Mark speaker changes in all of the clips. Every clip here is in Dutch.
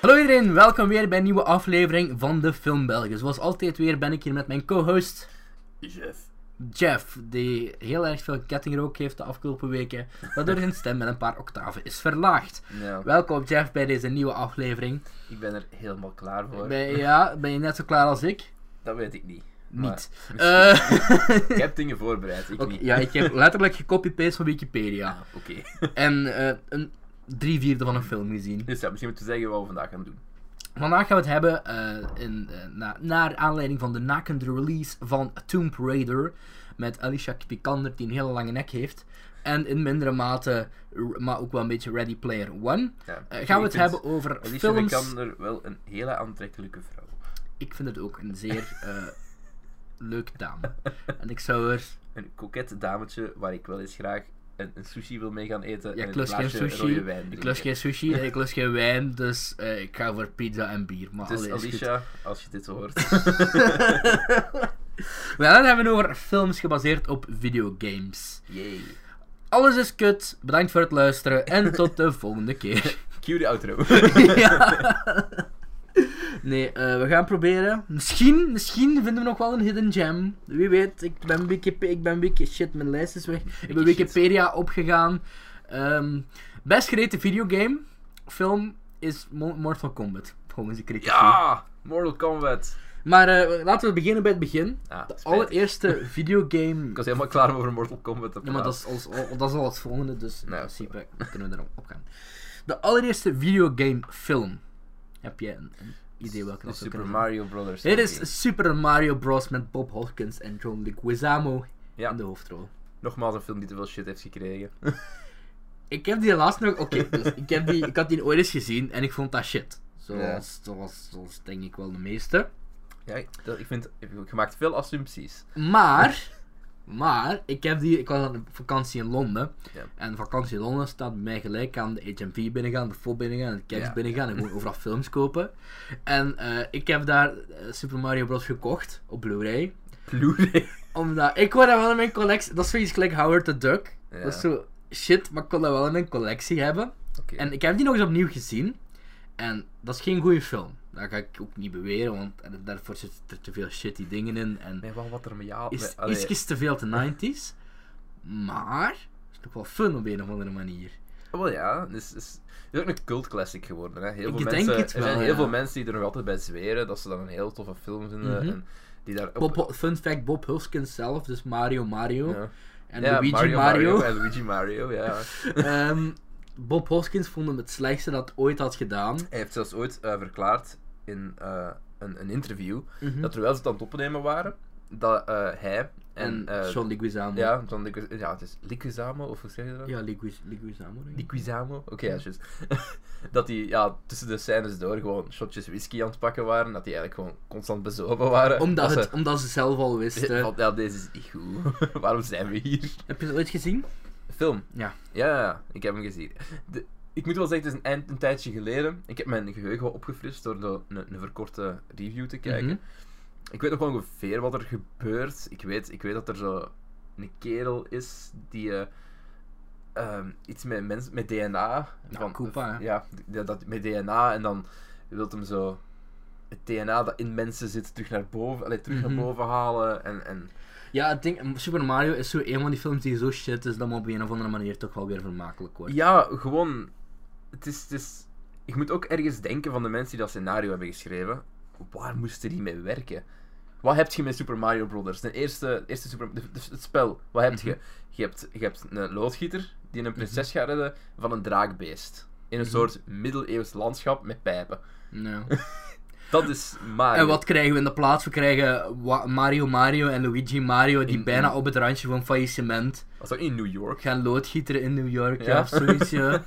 Speaker 1: Hallo iedereen, welkom weer bij een nieuwe aflevering van de Film België. Zoals altijd weer ben ik hier met mijn co-host
Speaker 2: Jeff.
Speaker 1: Jeff, die heel erg veel kettingrook heeft de afgelopen weken, waardoor zijn stem met een paar octaven is verlaagd.
Speaker 2: Ja,
Speaker 1: Welkom Jeff bij deze nieuwe aflevering.
Speaker 2: ik ben er helemaal klaar voor.
Speaker 1: Ben je, ja, ben je net zo klaar als ik?
Speaker 2: Dat weet ik niet.
Speaker 1: Niet.
Speaker 2: Maar-
Speaker 1: Eh,
Speaker 2: Ik heb dingen voorbereid, ik
Speaker 1: oké,
Speaker 2: niet. Ah,
Speaker 1: ja, ik heb letterlijk gecopy-paste van Wikipedia.
Speaker 2: Oké.
Speaker 1: En eh, een drie vierde van een film gezien.
Speaker 2: Dus ja, misschien moeten we zeggen wat we vandaag gaan doen.
Speaker 1: Vandaag gaan we het hebben eh, in, eh, na- naar aanleiding van de nakende release van Tomb Raider. Met Alicia Vikander die een hele lange nek heeft. En in mindere mate, r- maar ook wel een beetje Ready Player One.
Speaker 2: Ja.
Speaker 1: Eh, gaan we het
Speaker 2: Ik
Speaker 1: hebben
Speaker 2: vind
Speaker 1: over
Speaker 2: Alicia
Speaker 1: films.
Speaker 2: Vikander wel een hele aantrekkelijke vrouw.
Speaker 1: Ik vind het ook een zeer eh leuke dame. En ik zou er...
Speaker 2: Een koket dametje waar ik wel eens graag een, een sushi wil mee gaan eten.
Speaker 1: Ja,
Speaker 2: en
Speaker 1: ik
Speaker 2: een
Speaker 1: lust geen
Speaker 2: glaasje
Speaker 1: sushi.
Speaker 2: rode wijn
Speaker 1: Ik
Speaker 2: drinken.
Speaker 1: lust geen sushi en ik lust geen wijn. Dus eh, ik ga voor pizza en bier. Maar
Speaker 2: Dus
Speaker 1: allee, is goed.
Speaker 2: Alicia, als je dit hoort.
Speaker 1: We gaan het hebben over films gebaseerd op videogames.
Speaker 2: Yay.
Speaker 1: Alles is kut. Bedankt voor het luisteren en tot de volgende keer.
Speaker 2: Cue de outro.
Speaker 1: Ja. Nee, eh, we gaan proberen. Misschien, misschien vinden we nog wel een hidden gem. Wie weet, ik ben Wikipedia. Ik ben Wiki. Shit, mijn lijst is weg. Ik ben
Speaker 2: Wiki shit.
Speaker 1: Wikipedia opgegaan. Ehm, best gereden videogame. Film is Mo- Mortal Kombat. Volgens de critici.
Speaker 2: ja! Mortal Kombat.
Speaker 1: Maar eh, laten we beginnen bij het begin.
Speaker 2: Ah,
Speaker 1: De
Speaker 2: spijt.
Speaker 1: allereerste videogame.
Speaker 2: Ik was helemaal klaar om over Mortal Kombat te
Speaker 1: Ja,
Speaker 2: praten.
Speaker 1: maar dat is, als, al- dat is al het volgende, dus in
Speaker 2: Nou,
Speaker 1: principe kunnen we erop gaan. De allereerste videogame film. Heb jij een, een idee welke dat zou
Speaker 2: Super
Speaker 1: kunnen zijn?
Speaker 2: Mario Brothers.
Speaker 1: Dit
Speaker 2: movie.
Speaker 1: is Super Mario Bros. met Bob Hoskins en John Leguizamo
Speaker 2: Ja.
Speaker 1: in de hoofdrol.
Speaker 2: Nogmaals een film die te veel shit heeft gekregen.
Speaker 1: Ik heb die laatst nog... Oké, dus ik, heb die, ik had die ooit eens gezien en ik vond dat shit. Zoals,
Speaker 2: Ja.
Speaker 1: zoals, zoals denk ik wel de meeste.
Speaker 2: Ja, dat, ik vind, je maakt veel assumpties.
Speaker 1: Maar, maar, ik heb die, ik was aan vakantie in Londen.
Speaker 2: Ja.
Speaker 1: En vakantie in Londen staat bij mij gelijk aan de HMV binnengaan, de FOB binnengaan, de Kevs
Speaker 2: Ja.
Speaker 1: binnengaan en gewoon overal films kopen. En eh, ik heb daar eh, Super Mario Bros. gekocht op Blu-ray.
Speaker 2: Blu-ray.
Speaker 1: Omdat, ik kon dat wel in mijn collectie, dat is zoiets gelijk Howard the Duck.
Speaker 2: Ja.
Speaker 1: Dat is zo shit, maar ik kon dat wel in mijn collectie hebben.
Speaker 2: Oké.
Speaker 1: En ik heb die nog eens opnieuw gezien. En dat is geen goede film. Dat ga ik ook niet beweren, want eh, daarvoor zitten er te veel shitty dingen in. En
Speaker 2: Nee, wel wat er met jou...
Speaker 1: is
Speaker 2: met- allee,
Speaker 1: ietsjes te veel te 90s. Maar het is nog wel fun op een of andere manier.
Speaker 2: ah, Wel ja, het is, is, het is ook een cult classic geworden. Hè. Heel
Speaker 1: Ik
Speaker 2: veel
Speaker 1: denk
Speaker 2: mensen,
Speaker 1: het
Speaker 2: Er zijn
Speaker 1: wel,
Speaker 2: heel
Speaker 1: ja.
Speaker 2: veel mensen die er nog altijd bij zweren dat ze dat een heel toffe film vinden.
Speaker 1: Mhm.
Speaker 2: en die daar op-
Speaker 1: Bob, fun fact, Bob Hoskins zelf, dus Mario Mario.
Speaker 2: ja.
Speaker 1: En
Speaker 2: Ja,
Speaker 1: Luigi Mario.
Speaker 2: En Luigi Mario, ja.
Speaker 1: Ehm, Bob Hoskins vond hem het slechtste dat ooit had gedaan.
Speaker 2: Hij heeft zelfs ooit eh, verklaard in eh, een, een interview
Speaker 1: Mhm.
Speaker 2: dat terwijl ze het aan het opnemen waren, dat eh, hij en...
Speaker 1: En
Speaker 2: eh,
Speaker 1: John Leguizamo.
Speaker 2: ja, John Ligu- ja, het is Liquizamo, of hoe zeg je dat?
Speaker 1: ja Leguiz- Leguizamo. denk ik.
Speaker 2: Die Quizamo, oké, ja, juist. dat die ja, tussen de scènes door gewoon shotjes whisky aan het pakken waren. Dat die eigenlijk gewoon constant bezopen waren.
Speaker 1: Omdat,
Speaker 2: Dat
Speaker 1: het, omdat ze zelf al
Speaker 2: ze-
Speaker 1: wisten.
Speaker 2: van, ja, deze is niet goed. Waarom zijn we hier?
Speaker 1: Heb je dat ooit gezien?
Speaker 2: Film.
Speaker 1: Ja.
Speaker 2: Ja, ik heb hem gezien. De- ik moet wel zeggen, het is een, eind- een tijdje geleden. Ik heb mijn geheugen wel opgefrist door de- een, een verkorte review te kijken.
Speaker 1: Mhm.
Speaker 2: Ik weet nog wel ongeveer wat er gebeurt. Ik weet, ik weet dat er zo een kerel is die eh, ehm, iets met, mens, met DNA.
Speaker 1: Ja, Koopa, hè.
Speaker 2: Ja, d- dat, met DNA en dan wilt hem zo het DNA dat in mensen zit terug naar boven, allee, terug
Speaker 1: Mhm.
Speaker 2: naar boven halen. En, en
Speaker 1: Ja, ik denk, Super Mario is zo een van die films die zo shit is dat me op een of andere manier toch wel weer vermakelijk wordt.
Speaker 2: ja, gewoon. Het is, het is. Ik moet ook ergens denken van de mensen die dat scenario hebben geschreven. Waar moesten die mee werken? Wat heb je met Super Mario Brothers? De eerste, eerste Super, de- de- het spel. Wat heb
Speaker 1: Mhm.
Speaker 2: je? Je hebt, je hebt een loodgieter die een prinses gaat redden van een draakbeest. In een
Speaker 1: Mhm.
Speaker 2: soort middeleeuws landschap met pijpen.
Speaker 1: Ja.
Speaker 2: Dat is Mario.
Speaker 1: En wat krijgen we in de plaats? We krijgen Wa- Mario Mario en Luigi Mario die
Speaker 2: In-
Speaker 1: bijna
Speaker 2: in-
Speaker 1: op het randje van faillissement
Speaker 2: Dat is ook in New York.
Speaker 1: gaan loodgieteren in New York. Ja,
Speaker 2: Ja.
Speaker 1: of zoiets. ja.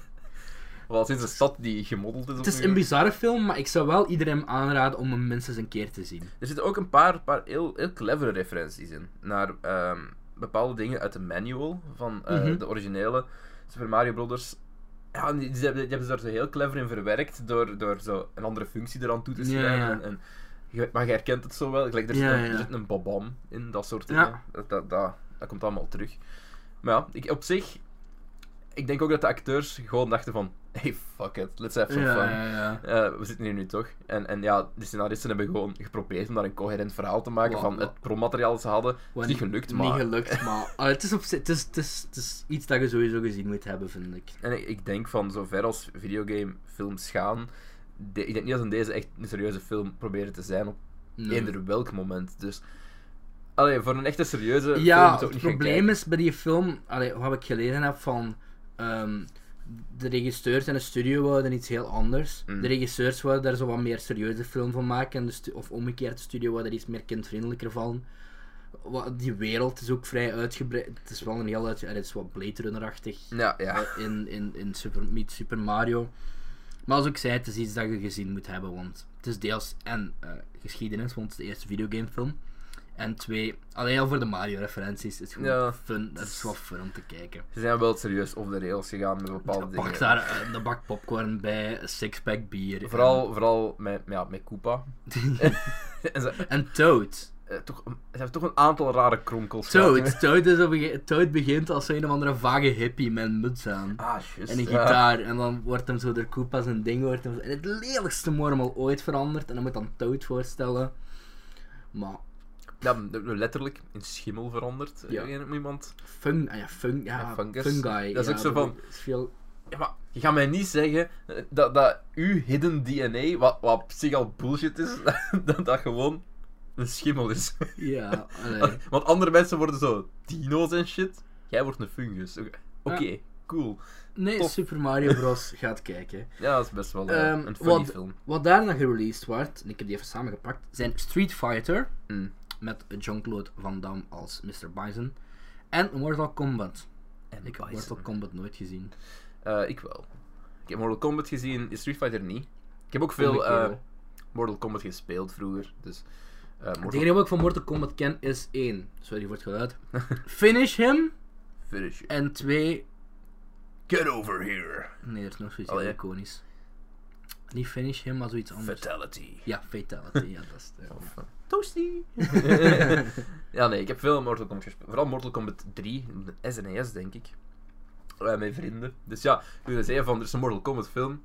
Speaker 2: Wel sinds een stad die gemoddeld is. op
Speaker 1: Het is
Speaker 2: New
Speaker 1: een
Speaker 2: York.
Speaker 1: bizarre film, maar ik zou wel iedereen aanraden om hem minstens een keer te zien.
Speaker 2: Er zitten ook een paar, paar heel, heel clevere referenties in. Naar ehm, bepaalde dingen uit de manual van eh,
Speaker 1: Mhm.
Speaker 2: de originele Super Mario Brothers. Ja, en die, die hebben, die hebben ze daar zo heel clever in verwerkt door, door zo een andere functie eraan toe te
Speaker 1: Ja,
Speaker 2: schrijven.
Speaker 1: ja.
Speaker 2: En, en je- maar je herkent het zo wel. Gelijk, er, zit
Speaker 1: Ja,
Speaker 2: een,
Speaker 1: ja.
Speaker 2: er zit een babam in, dat soort
Speaker 1: Ja.
Speaker 2: dingen. Dat, dat, dat, dat komt allemaal terug. Maar ja, ik, op zich, ik denk ook dat de acteurs gewoon dachten van... Hey, fuck it, let's have some
Speaker 1: Ja,
Speaker 2: fun.
Speaker 1: ja, ja.
Speaker 2: Eh, we zitten hier nu toch. En, en ja, de scenaristen hebben gewoon geprobeerd om daar een coherent verhaal te maken
Speaker 1: Wa-
Speaker 2: van
Speaker 1: wa-
Speaker 2: het bronmateriaal dat ze hadden. Het is niet gelukt, maar...
Speaker 1: Niet gelukt, maar ah, het, is op, zich- het, is, het, is, het is iets dat je sowieso gezien moet hebben, vind ik.
Speaker 2: En ik, ik denk van zover als videogame films gaan... de- ik denk niet dat in deze echt een serieuze film proberen te zijn op
Speaker 1: Nee.
Speaker 2: eender welk moment. Dus... Allee, voor een echte serieuze film
Speaker 1: Ja,
Speaker 2: moet je ook
Speaker 1: het
Speaker 2: niet gaan
Speaker 1: probleem is bij die film, allee, wat ik gelezen heb van ehm, de regisseurs en de studio wouden iets heel anders.
Speaker 2: Mm.
Speaker 1: De regisseurs wouden daar zo wat meer serieuze film van maken, en de stu- of omgekeerd, de studio wouden er iets meer kindvriendelijker van. Wat, die wereld is ook vrij uitgebreid. Het is wel een heel uitgebreid, het is wat Blade Runner-achtig
Speaker 2: kijken. Ja, ja.
Speaker 1: eh, in, in, in Super, Meet Super Mario. Maar als ik zei, het is iets dat je gezien moet hebben, want het is deels en eh, geschiedenis, want het is de eerste videogamefilm. En twee, alleen al voor de Mario-referenties, het is gewoon
Speaker 2: Ja.
Speaker 1: fun, het is wel fun om te kijken.
Speaker 2: Ze zijn wel serieus op de rails gegaan met bepaalde dingen.
Speaker 1: Pak daar eh, een bak popcorn bij, een sixpack bier.
Speaker 2: Vooral, vooral met, ja, met Koopa. en ze,
Speaker 1: En, en Toad.
Speaker 2: eh, toch, een- ze hebben toch een aantal rare kronkels gehad.
Speaker 1: Toad. Toad, is op een ge- Toad begint als een of andere vage hippie met een muts aan.
Speaker 2: Ah, juist.
Speaker 1: En een
Speaker 2: Ja.
Speaker 1: gitaar. En dan wordt hem zo door Koopa's een ding. Wordt hem in het lelijkste mormel ooit veranderd. En dan moet dan Toad voorstellen. Maar
Speaker 2: Ja, m- letterlijk in schimmel veranderd.
Speaker 1: Ja.
Speaker 2: Ja. iemand.
Speaker 1: fun, ah ja, fun, ja,
Speaker 2: Ja, fungus.
Speaker 1: fungi.
Speaker 2: Dat is
Speaker 1: ja,
Speaker 2: ook zo van-
Speaker 1: is veel,
Speaker 2: Ja, maar je gaat mij niet zeggen eh, dat, dat uw hidden DNA, wat, wat op zich al bullshit is, dat dat gewoon een schimmel is.
Speaker 1: ja, allee.
Speaker 2: Want andere mensen worden zo dino's en shit. Jij wordt een fungus. Oké, Oké, cool.
Speaker 1: Nee,
Speaker 2: Tof.
Speaker 1: Super Mario Bros. gaat kijken.
Speaker 2: Ja, dat is best wel eh,
Speaker 1: Ehm,
Speaker 2: een funny
Speaker 1: wat-
Speaker 2: film.
Speaker 1: Wat daarna gereleased wordt, en ik heb die even samengepakt, zijn Street Fighter.
Speaker 2: Mm.
Speaker 1: Met Jean-Claude Van Damme als Mr. Bison. En Mortal Kombat.
Speaker 2: En
Speaker 1: Ik heb
Speaker 2: Bison.
Speaker 1: Mortal Kombat nooit gezien.
Speaker 2: Eh, ik wel. Ik heb Mortal Kombat gezien, Street Fighter niet. Ik heb ook veel
Speaker 1: Vond ik wel.
Speaker 2: eh, Mortal Kombat gespeeld vroeger. Dus, eh,
Speaker 1: Het
Speaker 2: Mortal
Speaker 1: enige wat ik van Mortal Kombat ken is één. Sorry voor het geluid. Finish him.
Speaker 2: Finish it.
Speaker 1: En twee.
Speaker 2: Get over here.
Speaker 1: Nee, dat is nog zoiets
Speaker 2: Oh,
Speaker 1: heel
Speaker 2: ja.
Speaker 1: iconisch. Niet finish him, maar zoiets anders.
Speaker 2: Fatality.
Speaker 1: Ja, fatality. ja, dat is het, ja.
Speaker 2: Of, eh, Toasty. ja, nee, ik heb veel Mortal Kombat gespeeld. Vooral Mortal Kombat 3, de SNES E denk ik. Eh, mijn vrienden. Dus ja, ik wilde zeggen van, er is een Mortal Kombat film.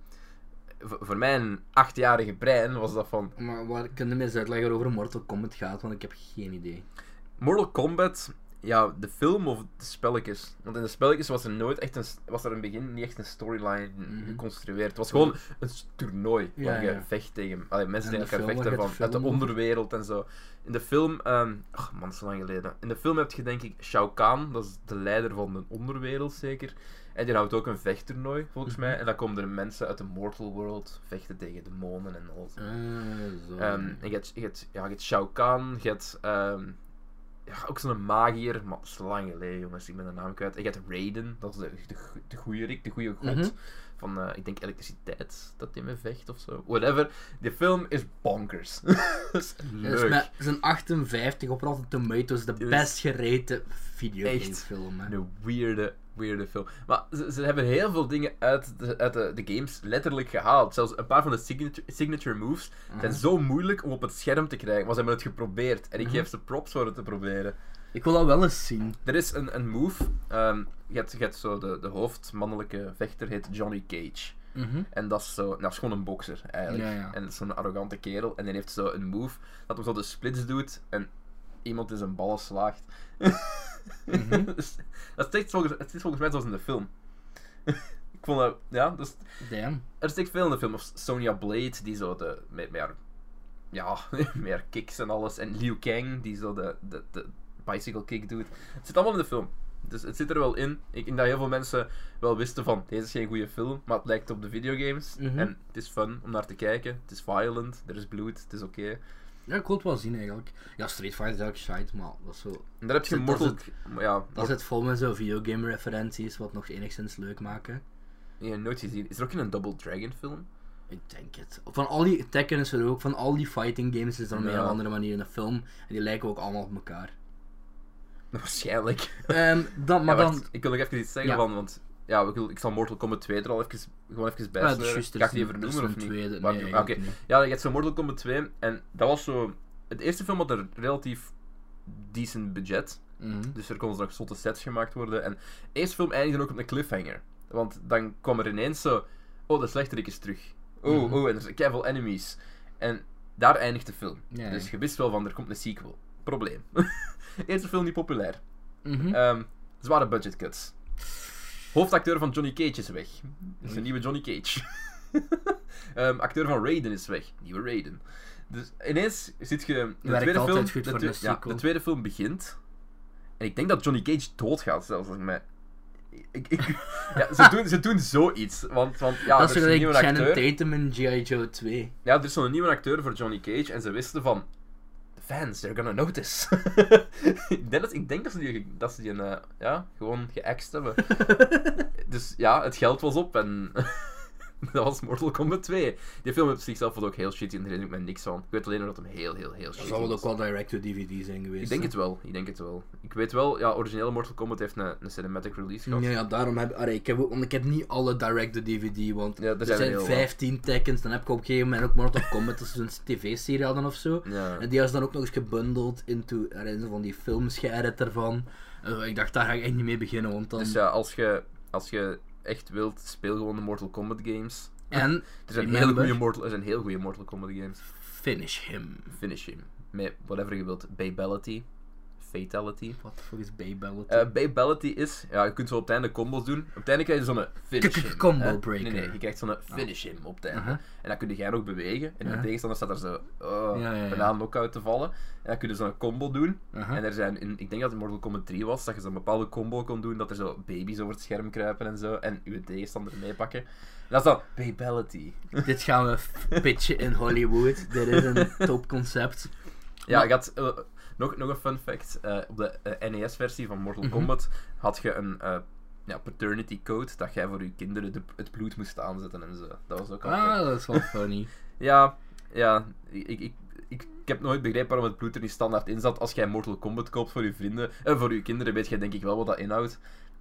Speaker 2: V- voor mijn achtjarige brein was dat van,
Speaker 1: Maar waar kun je me eens uitleggen over Mortal Kombat gaat? Want ik heb geen idee.
Speaker 2: Mortal Kombat, ja, de film of de spelletjes? Want in de spelletjes was er nooit echt een, was er in het begin niet echt een storyline geconstrueerd. Het was gewoon een s- toernooi
Speaker 1: Mhm. Ja,
Speaker 2: waar je
Speaker 1: ja.
Speaker 2: vecht tegen allee, mensen
Speaker 1: En
Speaker 2: tegen
Speaker 1: de
Speaker 2: elkaar
Speaker 1: film,
Speaker 2: vechten
Speaker 1: waar
Speaker 2: van,
Speaker 1: je de
Speaker 2: uit de
Speaker 1: film over-
Speaker 2: onderwereld en zo. In de film, ehm ach man, dat is zo lang geleden. In de film heb je denk ik Shao Kahn, dat is de leider van de onderwereld zeker. En die houdt ook een vechttoernooi volgens
Speaker 1: Mhm.
Speaker 2: mij. En dan komen er mensen uit de mortal world vechten tegen demonen en alles.
Speaker 1: Ah, zo.
Speaker 2: Ehm, en je hebt, je, hebt, ja, je hebt Shao Kahn, je hebt ehm, ja, ook zo'n magier, maar dat is lang geleden jongens, ik ben de naam kwijt. En je hebt Raiden, dat is de, de, go- de goede Rick, de goede god
Speaker 1: Mhm.
Speaker 2: van, eh, ik denk elektriciteit, dat die mee vecht of zo. Whatever, die film is bonkers. dat is
Speaker 1: Dat is
Speaker 2: leuk.
Speaker 1: met zijn 58 op Rotten Tomatoes de
Speaker 2: is-
Speaker 1: best gereten videogamefilm. hè.
Speaker 2: Een weirde, weirde film. Maar ze, ze hebben heel veel dingen uit, de, uit de, de games letterlijk gehaald. Zelfs een paar van de signature, signature moves zijn
Speaker 1: Mhm.
Speaker 2: zo moeilijk om op het scherm te krijgen. Maar ze hebben het geprobeerd. En ik geef ze props voor het te proberen.
Speaker 1: Ik wil dat wel eens zien.
Speaker 2: Er is een, een move. ehm, je, hebt, je hebt zo de, de hoofdmannelijke vechter, heet Johnny Cage.
Speaker 1: Mhm.
Speaker 2: En dat is, zo, dat is gewoon een bokser eigenlijk.
Speaker 1: Ja, ja.
Speaker 2: En dat is zo'n arrogante kerel. En die heeft zo een move dat hem zo de splits doet en iemand in zijn ballen slaagt.
Speaker 1: Mhm.
Speaker 2: Dus dat is echt volgens, het is volgens mij zoals in de film. Ik vond dat, ja, dus,
Speaker 1: Damn.
Speaker 2: er steekt veel in de film. Of Sonya Blade, die zo de, met, met haar, ja, met haar kicks en alles. En Liu Kang, die zo de, de, de bicycle kick doet. Het zit allemaal in de film. Dus het zit er wel in. Ik denk dat heel veel mensen wel wisten van, deze is geen goede film, maar het lijkt op de videogames.
Speaker 1: Mhm.
Speaker 2: En het is fun om naar te kijken. Het is violent, er is bloed, het is oké.
Speaker 1: Ja, ik wil het wel zien eigenlijk. Ja, Street Fighter is eigenlijk shite, maar dat is zo
Speaker 2: En daar heb je
Speaker 1: Dat
Speaker 2: Mortal...
Speaker 1: is
Speaker 2: Ja,
Speaker 1: Dat
Speaker 2: Mortal-
Speaker 1: zit vol met zo'n videogame referenties, wat nog enigszins leuk maken.
Speaker 2: je hebt nooit gezien. Is er ook in een Double Dragon film?
Speaker 1: Ik denk het. Van al die Tekken is er ook, van al die fighting games is er op een
Speaker 2: Ja.
Speaker 1: of andere manier in de film. En die lijken ook allemaal op elkaar.
Speaker 2: Waarschijnlijk.
Speaker 1: Ehm, dan, maar
Speaker 2: Ja,
Speaker 1: dan.
Speaker 2: wacht, ik wil nog even iets zeggen
Speaker 1: Ja.
Speaker 2: van, want ja, ik, wil, ik zal Mortal Kombat 2 er al even, gewoon even bij
Speaker 1: Ah,
Speaker 2: sleuren.
Speaker 1: juist, er
Speaker 2: eh, Ga ik
Speaker 1: is
Speaker 2: die
Speaker 1: een- er
Speaker 2: even
Speaker 1: is
Speaker 2: noemen
Speaker 1: een
Speaker 2: of niet?
Speaker 1: tweede.
Speaker 2: Waar-
Speaker 1: Nee,
Speaker 2: ah,
Speaker 1: ik
Speaker 2: oké.
Speaker 1: niet.
Speaker 2: Ja, je hebt zo Mortal Kombat 2 en dat was zo... Het eerste film had een relatief decent budget,
Speaker 1: Mhm.
Speaker 2: dus er konden nog zotte sets gemaakt worden. En de eerste film eindigde ook op een cliffhanger. Want dan kwam er ineens zo... Oh, de slechterik is terug. Oh,
Speaker 1: Mhm.
Speaker 2: oh, en er zijn keiveel enemies. En daar eindigt de film.
Speaker 1: Ja,
Speaker 2: Dus
Speaker 1: ja.
Speaker 2: je wist wel van, er komt een sequel. Probleem. Eerste film niet populair.
Speaker 1: Mhm.
Speaker 2: Ehm, zware budget cuts. Hoofdacteur van Johnny Cage is weg. Dat is een nieuwe Johnny Cage. Ehm, acteur van Raiden is weg. Nieuwe Raiden. Dus ineens zit je... De
Speaker 1: Werkt
Speaker 2: tweede
Speaker 1: altijd
Speaker 2: film,
Speaker 1: goed
Speaker 2: de,
Speaker 1: voor
Speaker 2: twe-
Speaker 1: een
Speaker 2: ja,
Speaker 1: sequel.
Speaker 2: de tweede film begint. En ik denk dat Johnny Cage doodgaat, zelfs als ik mij... Ik, ik, ja, ze, doen, ze doen zoiets. Want, want ja,
Speaker 1: dat
Speaker 2: er
Speaker 1: is
Speaker 2: is dus een nieuwe
Speaker 1: gelijk Shannon
Speaker 2: acteur.
Speaker 1: Tatum in G.I. Joe 2.
Speaker 2: Ja, er is zo'n nieuwe acteur voor Johnny Cage en ze wisten van... "The Fans, they're gonna notice. ik, denk dat, ik denk dat ze die, dat ze die een, eh, ja, gewoon geaxt hebben. dus ja, het geld was op en... dat was Mortal Kombat 2. Die film op zichzelf was ook heel shitty en daar herinner ik me niks van. Ik weet alleen nog dat hem heel, heel, heel
Speaker 1: Dat
Speaker 2: shitty
Speaker 1: zal wel ook
Speaker 2: was.
Speaker 1: wel direct-to-DVD zijn geweest.
Speaker 2: Ik denk
Speaker 1: hè?
Speaker 2: het wel, ik denk het wel. Ik weet wel, ja, originele Mortal Kombat heeft een, een cinematic release gehad.
Speaker 1: Ja, ja, daarom heb allee, ik... Heb, ook- want ik heb niet alle direct-to-DVD, want
Speaker 2: Ja, er
Speaker 1: er
Speaker 2: zijn er
Speaker 1: zijn
Speaker 2: heel wat.
Speaker 1: 15 tekens. Dan heb ik op een gegeven moment ook Mortal Kombat, dat ze een tv-serie hadden of zo.
Speaker 2: Ja.
Speaker 1: En die was dan ook nog eens gebundeld into, er is van die films geëdit ervan. En zo, ik dacht, daar ga ik echt niet mee beginnen, want dan...
Speaker 2: Dus ja, als je, als je echt wilt, speel gewoon de Mortal Kombat games.
Speaker 1: En,
Speaker 2: Er zijn,
Speaker 1: Remember.
Speaker 2: heel goede Mortal, er zijn heel goede Mortal Kombat games.
Speaker 1: finish him.
Speaker 2: Finish him. Met whatever je wilt. Babality. Fatality.
Speaker 1: Wat de fuck is Baybellet?
Speaker 2: Eh Babality is... Ja, je kunt zo op het einde combos doen. Op het einde krijg je zo'n finish him.
Speaker 1: Combo
Speaker 2: hè.
Speaker 1: breaker. Oh. Uh-huh.
Speaker 2: Nee, nee. Je krijgt zo'n finish him op het einde.
Speaker 1: Aha.
Speaker 2: En dan kun je ook bewegen. En de
Speaker 1: Ja.
Speaker 2: tegenstander staat er zo... Oh,
Speaker 1: Uh-huh. Ja, ja, Uh-huh. ja.
Speaker 2: bijna knock-out te vallen. En dan kun je zo'n combo doen.
Speaker 1: Aha.
Speaker 2: En er zijn... In, ik denk dat het in Mortal Kombat 3 was. Dat je zo'n bepaalde combo kon doen. Dat er zo baby's over het scherm kruipen en zo. En je tegenstander meepakken. En dat is dan Babality.
Speaker 1: Dit gaan we f- pitchen in Hollywood. Dit is een topconcept.
Speaker 2: Ja,
Speaker 1: Maar-
Speaker 2: ik had, eh, nog, nog een fun fact. Eh, op de eh, NES-versie van Mortal
Speaker 1: Mhm.
Speaker 2: Kombat had je een eh, ja, paternity code dat jij voor je kinderen de, het bloed moest aanzetten en zo. Dat was ook al.
Speaker 1: Ah, dat is wel funny.
Speaker 2: Ja, ja ik, ik, ik, ik heb nooit begrepen waarom het bloed er niet standaard in zat. Als jij Mortal Kombat koopt voor je vrienden en voor je kinderen, weet jij denk ik wel wat dat inhoudt.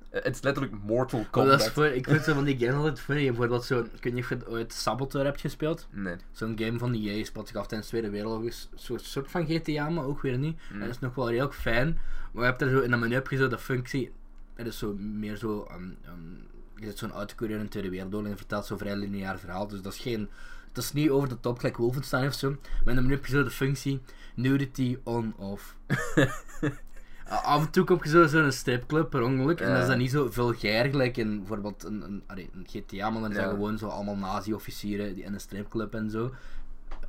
Speaker 2: Eh, het is letterlijk Mortal
Speaker 1: Maar
Speaker 2: Kombat.
Speaker 1: dat is voor, ik vind zo van die games altijd funny. Bijvoorbeeld zo, ik weet niet of je het ooit Saboteur hebt gespeeld.
Speaker 2: Nee.
Speaker 1: Zo'n game van die EA speelt zich af tijdens de Tweede Wereldoorlog. Is een soort, soort van GTA, maar ook weer niet.
Speaker 2: Mm.
Speaker 1: Dat is nog wel heel fijn. Maar je hebt er zo in dat menu heb je zo de functie. Dat is zo meer zo. ehm, ehm, je zit zo'n autocourier in de Tweede Wereldoorlog en vertelt zo'n vrij lineair verhaal. Dus dat is geen. Het is niet over de top, gelijk Wolfenstein of zo. Maar in dat menu heb je zo de functie nudity on-off. Af en toe kom je zo, zo in een stripclub per ongeluk. En
Speaker 2: Ja.
Speaker 1: dat is dan niet zo vulgair gelijk in bijvoorbeeld een, een, allee, een GTA, maar dan zijn
Speaker 2: Ja.
Speaker 1: gewoon zo allemaal nazi-officieren die in een stripclub en zo.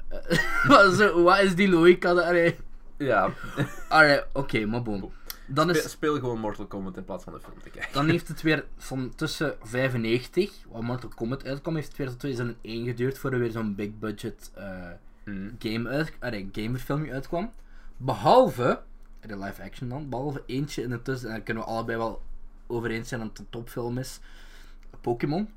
Speaker 1: Eh, maar zo, wat is die logica? daar? Allee,
Speaker 2: Ja,
Speaker 1: allee, oké, maar boom. Dan,
Speaker 2: speel,
Speaker 1: is,
Speaker 2: speel gewoon Mortal Kombat in plaats van de film te kijken.
Speaker 1: dan heeft het weer van tussen 95, waar Mortal Kombat uitkwam, heeft het weer tot 2001 geduurd voor er weer zo'n big budget eh,
Speaker 2: Mm.
Speaker 1: game uit, allee, gamerfilmje uitkwam. Behalve, de live action dan, behalve eentje in de tussen, en daar kunnen we allebei wel over eens zijn dat het een topfilm is. Pokémon,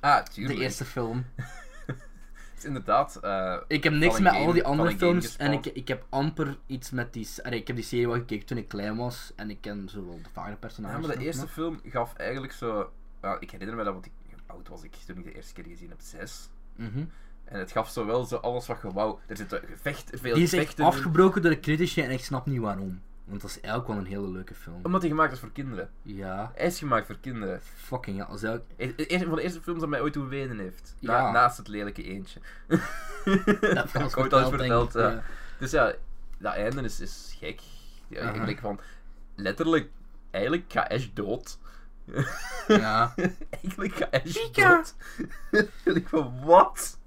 Speaker 2: Ah,
Speaker 1: de
Speaker 2: tuurlijk.
Speaker 1: eerste film.
Speaker 2: Het is inderdaad... eh,
Speaker 1: Ik heb niks
Speaker 2: Van
Speaker 1: met
Speaker 2: een
Speaker 1: al die
Speaker 2: game-
Speaker 1: andere
Speaker 2: van een game
Speaker 1: films en ik,
Speaker 2: gespaard.
Speaker 1: ik heb amper iets met die. s- Allee, ik heb die serie wel gekeken toen ik klein was en ik ken zowel de vage
Speaker 2: Ja,
Speaker 1: personages.
Speaker 2: maar de
Speaker 1: nog,
Speaker 2: eerste
Speaker 1: maar-
Speaker 2: film gaf eigenlijk zo. ja, ik herinner me dat, want ik, hoe oud was ik toen ik de eerste keer gezien heb, zes.
Speaker 1: Mhm.
Speaker 2: En het gaf zo wel zo alles wat je wou. Er zitten gevechten, veel
Speaker 1: Die is echt
Speaker 2: gevechten. in.
Speaker 1: afgebroken door de critici en ik snap niet waarom. Want dat is eigenlijk wel een hele leuke film.
Speaker 2: Omdat hij gemaakt is voor kinderen.
Speaker 1: Ja,
Speaker 2: Hij is gemaakt voor kinderen.
Speaker 1: fucking ja. Als elk-
Speaker 2: E- e- Een van de eerste films dat mij ooit doen wenen heeft. Na-
Speaker 1: Ja.
Speaker 2: Naast het lelijke eentje.
Speaker 1: dat
Speaker 2: heb
Speaker 1: was
Speaker 2: ik ooit al eens
Speaker 1: verteld, denk
Speaker 2: verteld.
Speaker 1: ik,
Speaker 2: ja.
Speaker 1: ja.
Speaker 2: Dus ja, dat einde is, is gek. Ja,
Speaker 1: Aha.
Speaker 2: Ik denk van, letterlijk, eigenlijk gaat Ash dood.
Speaker 1: eh, Ja.
Speaker 2: Eigenlijk ga Ash
Speaker 1: Chica.
Speaker 2: dood. en ik van, wat?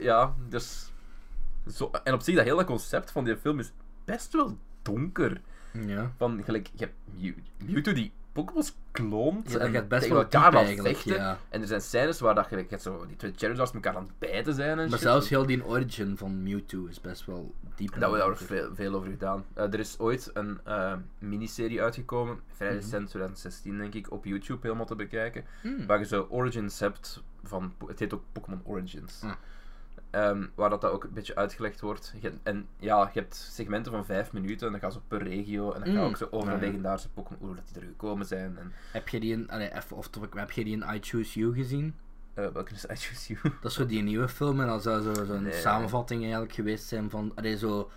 Speaker 2: Ja, dus... Zo, en op zich, dat hele concept van die film is best wel donker.
Speaker 1: Ja.
Speaker 2: Van, gelijk, je hebt Mew- Mewtwo die Pokémon's kloont
Speaker 1: Ja, dat
Speaker 2: en
Speaker 1: gaat best
Speaker 2: tegen
Speaker 1: wel
Speaker 2: elkaar
Speaker 1: diep
Speaker 2: aan
Speaker 1: eigenlijk,
Speaker 2: vechten.
Speaker 1: ja.
Speaker 2: En er zijn scènes waar dat, gelijk, je hebt zo, die twee Charizards elkaar aan het bijten zijn en
Speaker 1: Maar
Speaker 2: shit.
Speaker 1: zelfs heel die origin van Mewtwo is best wel diep.
Speaker 2: Daar wordt daar
Speaker 1: nadenken.
Speaker 2: veel, veel over gedaan. Eh, er is ooit een eh, miniserie uitgekomen,
Speaker 1: Mhm.
Speaker 2: vrij recent, 2016 denk ik, op YouTube helemaal te bekijken.
Speaker 1: Hmm.
Speaker 2: Waar je zo Origins hebt van. Po- Het heet ook Pokémon Origins.
Speaker 1: Ah.
Speaker 2: Ehm, waar dat, dat ook een beetje uitgelegd wordt. Je- en ja, je hebt segmenten van 5 minuten en dan gaan ze per regio en dan gaan
Speaker 1: Mm.
Speaker 2: ook zo over
Speaker 1: Ja, ja.
Speaker 2: legendarische Pokémon, hoe dat die er gekomen zijn. En,
Speaker 1: Heb je die in, allee, even off topic, maar heb je die in I Choose You gezien?
Speaker 2: eh, welke is I Choose You?
Speaker 1: Dat is zo die nieuwe film en dan zou zo- zo'n
Speaker 2: Nee.
Speaker 1: samenvatting eigenlijk geweest zijn van, allee, zo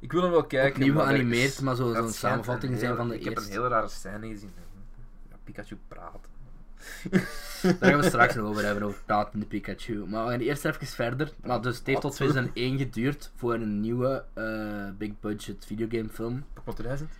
Speaker 2: Ik wil hem wel kijken.
Speaker 1: opnieuw
Speaker 2: maar er is-
Speaker 1: geanimeerd, maar zo-
Speaker 2: dat
Speaker 1: zo'n
Speaker 2: schijnt
Speaker 1: samenvatting
Speaker 2: een
Speaker 1: zijn
Speaker 2: heel-
Speaker 1: van de
Speaker 2: Ik heb
Speaker 1: eerste.
Speaker 2: een hele rare scène gezien. Ja, Pikachu praat.
Speaker 1: Daar gaan we straks nog over hebben, over pratende Pikachu. Maar we gaan eerst even verder. Maar dus het heeft tot
Speaker 2: Wat?
Speaker 1: 2001 geduurd voor een nieuwe eh, big budget videogame film.
Speaker 2: Pokémon 2000?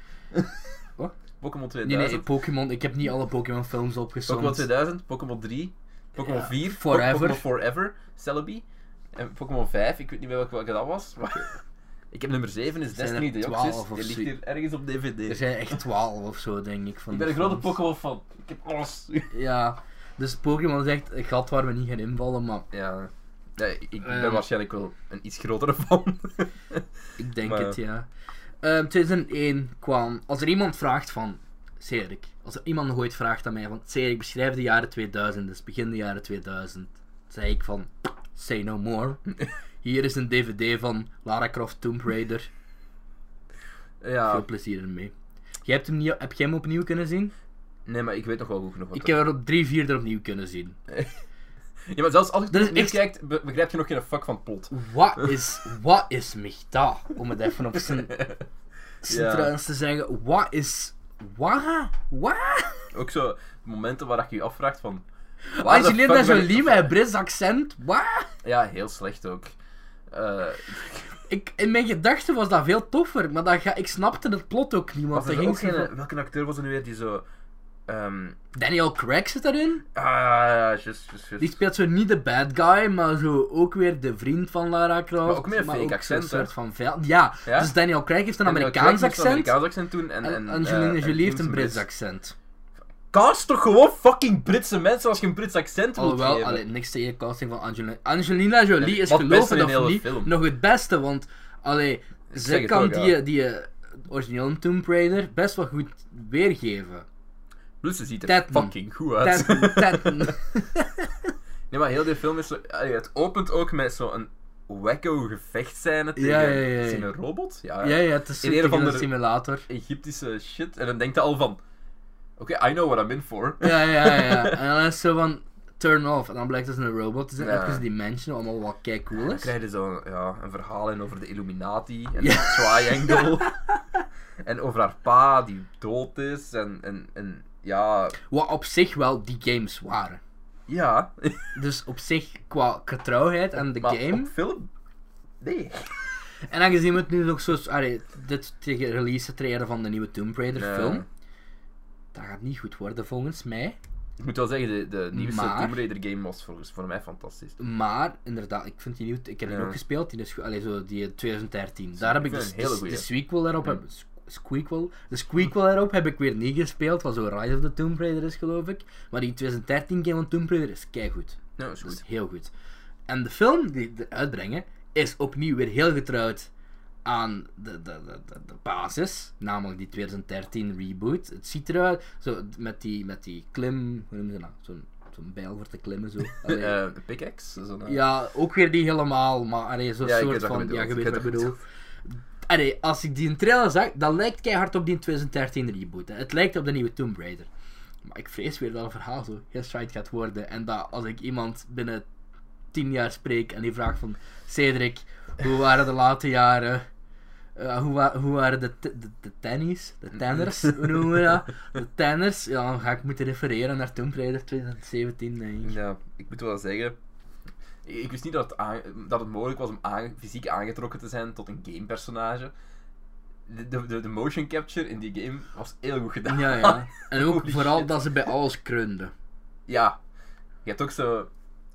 Speaker 1: Wat?
Speaker 2: Pokémon
Speaker 1: Nee,
Speaker 2: 2000.
Speaker 1: nee, Pokémon. Ik heb niet alle Pokémon films
Speaker 2: Pokémon
Speaker 1: opgesomd.
Speaker 2: 2000, Pokémon 3, Pokémon
Speaker 1: Ja,
Speaker 2: 4, Po-
Speaker 1: Forever.
Speaker 2: Pokémon Forever, Celebi, en Pokémon 5, ik weet niet meer welke, welke dat was, maar... Ik heb nummer 7, is
Speaker 1: Zijn er
Speaker 2: Destiny Deoxys,
Speaker 1: 12 of
Speaker 2: die ligt
Speaker 1: zoiets?
Speaker 2: hier ergens op DVD.
Speaker 1: Er zijn echt 12 of zo, denk ik. Van
Speaker 2: Ik
Speaker 1: die
Speaker 2: ben een grote
Speaker 1: films.
Speaker 2: Pokémon fan, ik heb alles.
Speaker 1: Ja, dus Pokémon is echt een gat waar we niet gaan invallen, maar
Speaker 2: Ja, ja ik ik ben
Speaker 1: Ehm.
Speaker 2: waarschijnlijk wel een iets grotere fan.
Speaker 1: ik denk
Speaker 2: Maar-
Speaker 1: het, ja. Ehm 2001 kwam... Als er iemand vraagt van... Cedric, als er iemand nog ooit vraagt aan mij van... Cedric, beschrijf de jaren 2000, dus begin de jaren 2000. zei ik van... Say no more. Hier is een dvd van Lara Croft Tomb Raider. Veel
Speaker 2: ja,
Speaker 1: plezier ermee. Jij hebt hem niet, heb jij hem opnieuw kunnen zien?
Speaker 2: nee, maar ik weet nog wel goed genoeg wat
Speaker 1: Ik heb er op drie vierde opnieuw kunnen zien.
Speaker 2: Ja, maar zelfs als je
Speaker 1: Er is
Speaker 2: het nu
Speaker 1: echt-
Speaker 2: kijkt, be- begrijp je nog geen fuck van het plot.
Speaker 1: Wat is, wat is Michta? Om het even op zijn, zijn
Speaker 2: Ja.
Speaker 1: Truins te zeggen. Wat is. Wat? Wat?
Speaker 2: Ook zo momenten waar ik je afvraagt van... waar de
Speaker 1: Angelina
Speaker 2: fuck ben ik-
Speaker 1: Jolie met een Brits accent. Wat?
Speaker 2: Ja, heel slecht ook. Eh,
Speaker 1: Ik, in mijn gedachten was dat veel toffer, maar dat ga, ik snapte het plot ook niet. Want
Speaker 2: was
Speaker 1: er
Speaker 2: er
Speaker 1: ging
Speaker 2: ook
Speaker 1: zo
Speaker 2: geen-
Speaker 1: van-
Speaker 2: welke acteur was er nu weer die zo... ehm
Speaker 1: Daniel Craig zit daarin.
Speaker 2: ah, ja, just, just, just.
Speaker 1: Die speelt zo niet de bad guy, maar zo ook weer de vriend van Lara Croft.
Speaker 2: Maar ook met een fake
Speaker 1: zo'n
Speaker 2: accent, hè?
Speaker 1: soort van vijand. Ja,
Speaker 2: Ja?
Speaker 1: dus Daniel Craig heeft een
Speaker 2: En Daniel Craig
Speaker 1: Amerikaans
Speaker 2: moest een
Speaker 1: accent.
Speaker 2: Amerikaans accent doen en... en
Speaker 1: En Angelina
Speaker 2: eh, en
Speaker 1: Jolie heeft
Speaker 2: James
Speaker 1: een Brits
Speaker 2: Brits.
Speaker 1: accent.
Speaker 2: Cast toch gewoon fucking Britse mensen als je een Brits accent wilt
Speaker 1: Alhoewel,
Speaker 2: geven?
Speaker 1: allee, niks tegen de casting van Angelina. Angelina Jolie
Speaker 2: En
Speaker 1: is
Speaker 2: wat beste
Speaker 1: geloven
Speaker 2: in de
Speaker 1: of
Speaker 2: hele
Speaker 1: niet
Speaker 2: film.
Speaker 1: nog het beste, want allee, zij
Speaker 2: zeg het
Speaker 1: kan
Speaker 2: ook,
Speaker 1: die,
Speaker 2: ja.
Speaker 1: die eh, origineel Tomb Raider best wel goed weergeven.
Speaker 2: Plus, ze ziet er
Speaker 1: Tatum.
Speaker 2: fucking goed uit.
Speaker 1: Tetten, tetten.
Speaker 2: Nee, maar heel die film is zo... allee, het opent ook met zo'n wacko gevechtscène tegen...
Speaker 1: ja, ja, ja.
Speaker 2: Is het een robot?
Speaker 1: ja, ja, het is
Speaker 2: In
Speaker 1: in
Speaker 2: een of
Speaker 1: een
Speaker 2: andere-
Speaker 1: simulator.
Speaker 2: Egyptische shit. En dan denkt hij al van... Oké, I know what I'm in for.
Speaker 1: Ja, ja, ja. En dan is het zo van turn off. En dan blijkt dat het een robot is. En
Speaker 2: Ja.
Speaker 1: even een dimension, allemaal wat kei cool
Speaker 2: Dan
Speaker 1: is.
Speaker 2: krijg je zo'n ja, een verhaal in over de Illuminati en
Speaker 1: Ja.
Speaker 2: de Triangle. en over haar pa die dood is. En, en, en ja...
Speaker 1: Wat op zich wel die games waren.
Speaker 2: Ja.
Speaker 1: Dus op zich, qua getrouwheid en de
Speaker 2: maar
Speaker 1: game.
Speaker 2: op film? Nee.
Speaker 1: En aangezien we het nu ook zo. Allee, dit tegen release treden van de nieuwe Tomb Raider
Speaker 2: Nee.
Speaker 1: film. Dat gaat niet goed worden volgens mij.
Speaker 2: Ik moet wel zeggen, de, de nieuwste
Speaker 1: Maar-
Speaker 2: Tomb Raider game was volgens voor mij fantastisch.
Speaker 1: Maar inderdaad, ik vind die nieuw. Ik heb die
Speaker 2: Ja.
Speaker 1: ook gespeeld. Die, is, goed- allee, zo, die uit 2013. Daar heb ik
Speaker 2: vind
Speaker 1: dus
Speaker 2: het een hele
Speaker 1: de, de
Speaker 2: goeie.
Speaker 1: sequel daarop. Heb, squeakquel, de squeakquel erop heb ik weer niet gespeeld. Wat zo Rise of the Tomb Raider is, geloof ik. Maar die 2013 game van Tomb Raider is keigoed.
Speaker 2: Nou, is
Speaker 1: Dat is
Speaker 2: goed.
Speaker 1: heel goed. En de film die ze uitbrengen is opnieuw weer heel getrouwd aan de, de, de, de, de basis, namelijk die 2013 reboot. Het ziet eruit zo, met, die, met die klim, hoe noemen ze dat? Zo'n zo'n bijl voor te klimmen zo. Allee.
Speaker 2: Eh, een pickaxe? Zo'n, eh,
Speaker 1: ja, ook weer die helemaal, maar allee, zo'n
Speaker 2: Ja, ik
Speaker 1: soort
Speaker 2: weet wat je
Speaker 1: van. Ja,
Speaker 2: bedoelt.
Speaker 1: je weet
Speaker 2: Ik
Speaker 1: wat ik
Speaker 2: weet wat je
Speaker 1: bedoel. Allee, als ik die in trailer zag, dat lijkt keihard op die 2013 reboot. hè. Het lijkt op de nieuwe Tomb Raider. Maar ik vrees weer dat het verhaal zo heel shite gaat worden. En dat als ik iemand binnen 10 jaar spreek en die vraagt van... Cedric, hoe waren de late jaren? Eh, hoe, wa- hoe waren de, t- de, de tennies? De tenners? Hoe noemen we dat? De tenners? Ja, dan ga ik moeten refereren naar Tomb Raider 2017, denk ik.
Speaker 2: Ja, ik moet wel zeggen. Ik, ik wist niet dat het, aan- dat het mogelijk was om aange- fysiek aangetrokken te zijn tot een gamepersonage. De, de, de, de motion capture in die game was heel goed gedaan.
Speaker 1: Ja, ja. En ook
Speaker 2: Holy
Speaker 1: vooral
Speaker 2: shit.
Speaker 1: dat ze bij alles kreunden.
Speaker 2: Ja. Je hebt ook zo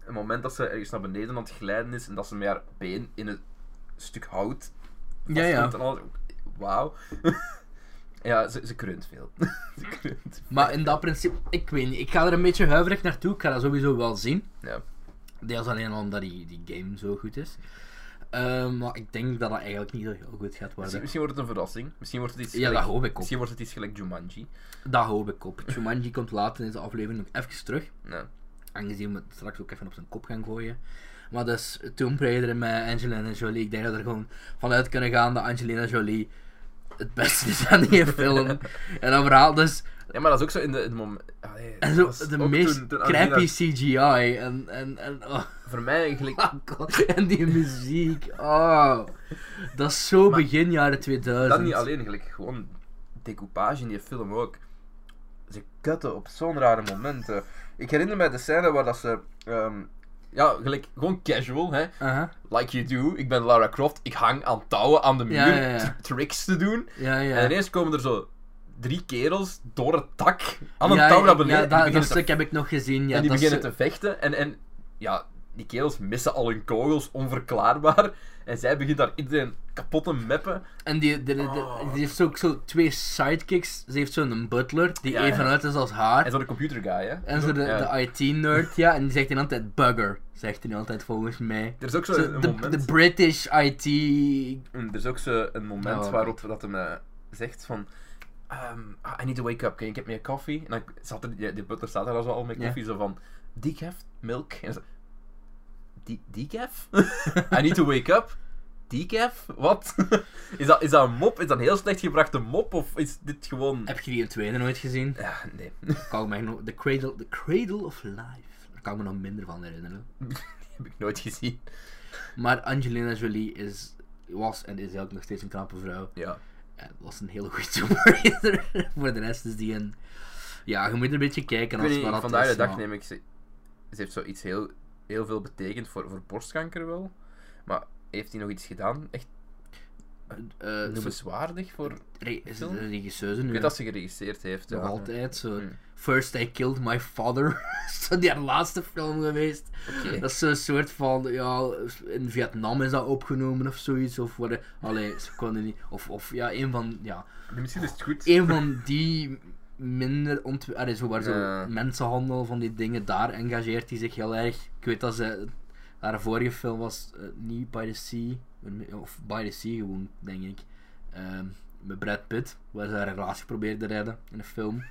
Speaker 2: een moment dat ze ergens naar beneden aan het glijden is en dat ze met haar been in een stuk hout
Speaker 1: Ja, ja.
Speaker 2: vastzit en alles. Wauw. ja, ze, ze kreunt veel. ze kreunt.
Speaker 1: Maar in dat principe, ik weet niet, ik ga er een beetje huiverig naartoe. Ik ga dat sowieso wel zien.
Speaker 2: Ja.
Speaker 1: Deels alleen omdat die, die game zo goed is. Ehm, maar ik denk dat dat eigenlijk niet zo heel goed gaat
Speaker 2: Misschien,
Speaker 1: worden.
Speaker 2: misschien wordt het een verrassing. Misschien wordt het iets
Speaker 1: Ja,
Speaker 2: gelijk-
Speaker 1: dat hoop ik ook.
Speaker 2: Misschien wordt het iets gelijk Jumanji.
Speaker 1: Dat hoop ik op. Jumanji komt later in deze aflevering nog even terug.
Speaker 2: Ja.
Speaker 1: Aangezien we het straks ook even op zijn kop gaan gooien. Maar dus Tomb Raider met Angelina Jolie. Ik denk dat we er gewoon vanuit kunnen gaan dat Angelina Jolie het beste is aan die film. en dat verhaal dus...
Speaker 2: Ja, maar dat is ook zo in de, in de moment. Allee,
Speaker 1: En
Speaker 2: dat
Speaker 1: zo,
Speaker 2: was
Speaker 1: de
Speaker 2: ook
Speaker 1: meest
Speaker 2: toen- toen Angelina-
Speaker 1: crappy CGI. En, en, en oh.
Speaker 2: Voor mij eigenlijk.
Speaker 1: Oh god, en die muziek. Oh. Dat is zo
Speaker 2: Maar
Speaker 1: begin jaren 2000.
Speaker 2: Dat niet alleen, eigenlijk gewoon decoupage in die film ook. ze kutten op zo'n rare momenten. Ik herinner me de scène waar dat ze... ehm, ja, gelijk, gewoon casual, hè.
Speaker 1: Aha.
Speaker 2: Like you do, ik ben Lara Croft, ik hang aan touwen aan de muur
Speaker 1: Ja, ja, ja.
Speaker 2: tr- tricks te doen.
Speaker 1: Ja, ja.
Speaker 2: En ineens komen er zo drie kerels door het tak aan een
Speaker 1: ja,
Speaker 2: touw naar
Speaker 1: ja,
Speaker 2: beneden. en
Speaker 1: dat, dat
Speaker 2: die beginnen te
Speaker 1: stuk heb ik nog gezien. Ja,
Speaker 2: en die
Speaker 1: dat
Speaker 2: beginnen
Speaker 1: ze-
Speaker 2: te vechten. En, en ja, die kerels missen al hun kogels, onverklaarbaar. En zij begint daar iedereen kapot te meppen.
Speaker 1: En die, die, die- die-
Speaker 2: Oh.
Speaker 1: die heeft ook zo twee sidekicks. Ze heeft zo'n butler die
Speaker 2: Ja,
Speaker 1: even
Speaker 2: ja.
Speaker 1: uit is als haar.
Speaker 2: En zo'n computer guy, hè.
Speaker 1: En zo de,
Speaker 2: Ja.
Speaker 1: de IT-nerd, ja, en die zegt dan altijd bugger, zegt hij altijd volgens mij.
Speaker 2: Er is ook zo
Speaker 1: Zo,
Speaker 2: een
Speaker 1: de,
Speaker 2: moment,
Speaker 1: de British IT.
Speaker 2: Mm, er is ook zo een moment
Speaker 1: Oh.
Speaker 2: waarop dat hem eh, zegt van... ehm, I need to wake up, can you get me a coffee? En dan zat er, ja, die butler staat daar al zo al met
Speaker 1: Ja.
Speaker 2: koffie, zo van... Decaf? Milk? En zo... "De- Decaf? I need to wake up? Decaf? Wat? is, dat, is dat een mop? Is dat een heel slecht gebrachte mop? Of is dit gewoon...
Speaker 1: Heb je die in tweede nooit gezien?
Speaker 2: Ja, nee.
Speaker 1: Kan ik me nog, the, cradle, the Cradle of Life. Daar kan ik me nog minder van herinneren.
Speaker 2: heb ik nooit gezien.
Speaker 1: Maar Angelina Jolie is, was en is eigenlijk nog steeds een knappe vrouw.
Speaker 2: Ja.
Speaker 1: En was een hele goede songwriter. Voor de rest is die een. Ja, je moet er een beetje kijken
Speaker 2: Ik
Speaker 1: als
Speaker 2: weet niet,
Speaker 1: wat dat
Speaker 2: vandaag
Speaker 1: is,
Speaker 2: de dag
Speaker 1: maar-
Speaker 2: neem ik ze... Ze heeft zoiets heel, heel veel betekend voor, voor borstkanker wel. Maar heeft hij nog iets gedaan? Echt
Speaker 1: Eh, eh, zo-
Speaker 2: noemenswaardig voor...
Speaker 1: re- is het
Speaker 2: film?
Speaker 1: een regisseuse nu?
Speaker 2: Ik weet dat ze geregistreerd heeft.
Speaker 1: Nog
Speaker 2: ja.
Speaker 1: altijd zo.
Speaker 2: Hmm.
Speaker 1: First I Killed My Father. zo die haar laatste film geweest.
Speaker 2: Oké.
Speaker 1: Dat is zo'n soort van, ja, in Vietnam is dat opgenomen of zoiets. Of wat, allee, ze konden niet. Of, of ja, een van, ja,
Speaker 2: Misschien is het goed.
Speaker 1: een van die minder ontw- allee, zo waar zo
Speaker 2: Ja.
Speaker 1: mensenhandel van die dingen, daar engageert hij zich heel erg. Ik weet dat ze, haar vorige film was eh, niet By the Sea, of By the Sea gewoon, denk ik. Ehm, met Brad Pitt, waar ze haar relatie probeerde te redden in een film.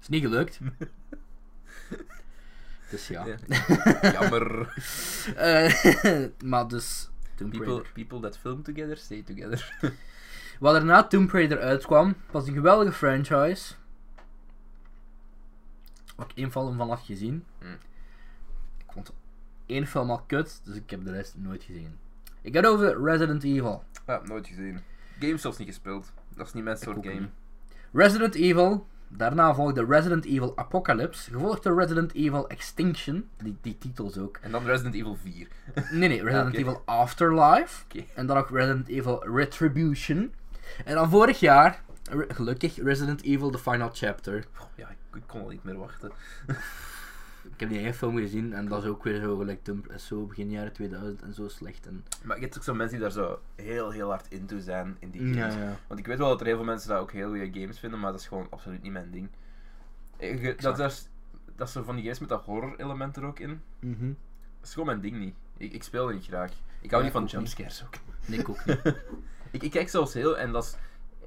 Speaker 1: Is niet gelukt. dus ja.
Speaker 2: Ja. Jammer.
Speaker 1: Eh, maar dus. Tomb
Speaker 2: People,
Speaker 1: Raider.
Speaker 2: people that film together, stay together.
Speaker 1: Wat er na Tomb Raider uitkwam, was een geweldige franchise. Ook één film vanaf gezien.
Speaker 2: Hmm.
Speaker 1: Ik vond één film al kut, dus ik heb de rest nooit gezien. Ik had over Resident Evil.
Speaker 2: Ja, nooit gezien. Games zelfs niet gespeeld. Dat is niet mijn soort
Speaker 1: ook
Speaker 2: game.
Speaker 1: niet. Resident Evil. Daarna volgde Resident Evil Apocalypse, gevolgd door Resident Evil Extinction, die, die titels ook.
Speaker 2: En dan Resident Evil 4.
Speaker 1: Nee, nee, Resident
Speaker 2: Ah, oké.
Speaker 1: Evil Afterlife.
Speaker 2: Oké.
Speaker 1: En dan ook Resident Evil Retribution. En dan vorig jaar, re- gelukkig, Resident Evil The Final Chapter.
Speaker 2: Goh, ja, ik, ik kon al niet meer wachten.
Speaker 1: Ik heb die hele film gezien en dat is ook weer zo gelijk Tomb- zo begin jaren 2000 en zo slecht. En...
Speaker 2: Maar je hebt ook zo mensen die daar zo heel, heel hard into zijn in die games.
Speaker 1: Ja, ja.
Speaker 2: Want ik weet wel dat er heel veel mensen dat ook heel goede games vinden, maar dat is gewoon absoluut niet mijn ding. Ik- dat, dat, is, dat is zo van die games met dat horror-element er ook in.
Speaker 1: Mhm.
Speaker 2: Dat is gewoon mijn ding niet. Ik, ik speel dat niet graag. Ik
Speaker 1: Ja,
Speaker 2: hou niet van
Speaker 1: ik ook niet.
Speaker 2: jumpscares ook.
Speaker 1: Nee, ik ook niet.
Speaker 2: Ik, ik kijk zelfs heel, en dat is,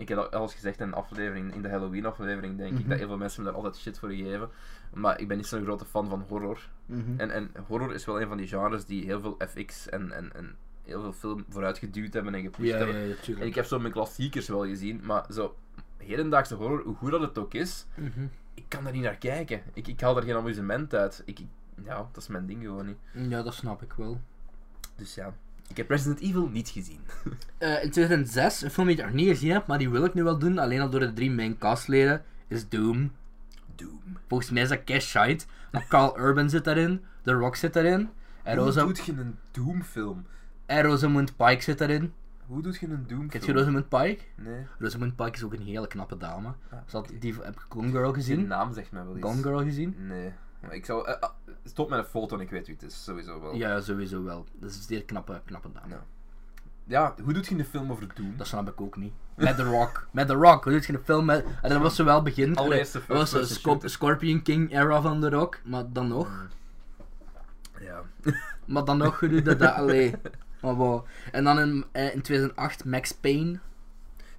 Speaker 2: ik heb dat al eens gezegd in een aflevering, in de Halloween aflevering denk ik,
Speaker 1: Mhm.
Speaker 2: dat heel veel mensen me daar altijd shit voor geven. Maar ik ben niet zo'n grote fan van horror.
Speaker 1: Mhm.
Speaker 2: En, en horror is wel een van die genres die heel veel FX en, en, en heel veel film vooruit geduwd hebben en gepusht
Speaker 1: Ja, ja,
Speaker 2: hebben.
Speaker 1: ja,
Speaker 2: En ik
Speaker 1: tuurlijk.
Speaker 2: heb zo mijn klassiekers wel gezien, maar zo hedendaagse horror, hoe goed dat het ook is,
Speaker 1: Mhm.
Speaker 2: ik kan daar niet naar kijken. Ik, ik haal daar geen amusement uit. Ik, ik- ja, dat is mijn ding gewoon niet.
Speaker 1: Ja, dat snap ik wel.
Speaker 2: Dus ja, ik heb Resident Evil niet gezien.
Speaker 1: Eh, in 2006, een film die ik nog niet gezien heb, maar die wil ik nu wel doen, alleen al door de drie main castleden, is Doom.
Speaker 2: Doom.
Speaker 1: Volgens mij is dat Cash Shite. Maar Carl Urban zit daarin. The Rock zit daarin. En,
Speaker 2: Hoe
Speaker 1: Rosa,
Speaker 2: doet je een Doom film?
Speaker 1: en Rosamund Pike zit daarin.
Speaker 2: Hoe doet je een Doom
Speaker 1: Kent je
Speaker 2: film?
Speaker 1: Rosamund Pike?
Speaker 2: Nee.
Speaker 1: Rosamund Pike is ook een hele knappe dame.
Speaker 2: Ah,
Speaker 1: Ze had-
Speaker 2: oké.
Speaker 1: die, heb ik Gone Girl
Speaker 2: Die
Speaker 1: gezien?
Speaker 2: naam zegt mij wel iets.
Speaker 1: Gone Girl gezien?
Speaker 2: Nee. Maar ik zou... eh, ah, stop met een foto en ik weet wie het is, sowieso wel.
Speaker 1: Ja, sowieso wel. Dat is een zeer knappe, knappe dame.
Speaker 2: Ja. Ja, hoe doet je een film over Doom?
Speaker 1: Dat snap ik ook niet. Met The Rock. Met The Rock. Hoe doet je een film met... En dat was zowel begin...
Speaker 2: Allereerste
Speaker 1: Dat was de
Speaker 2: first-person
Speaker 1: Scor-
Speaker 2: shooter.
Speaker 1: Scorpion King era van The Rock. Maar dan nog...
Speaker 2: Ja.
Speaker 1: Maar dan nog genoeg dat dat... Allee. Maar wow. En dan in, eh, in 2008 Max Payne.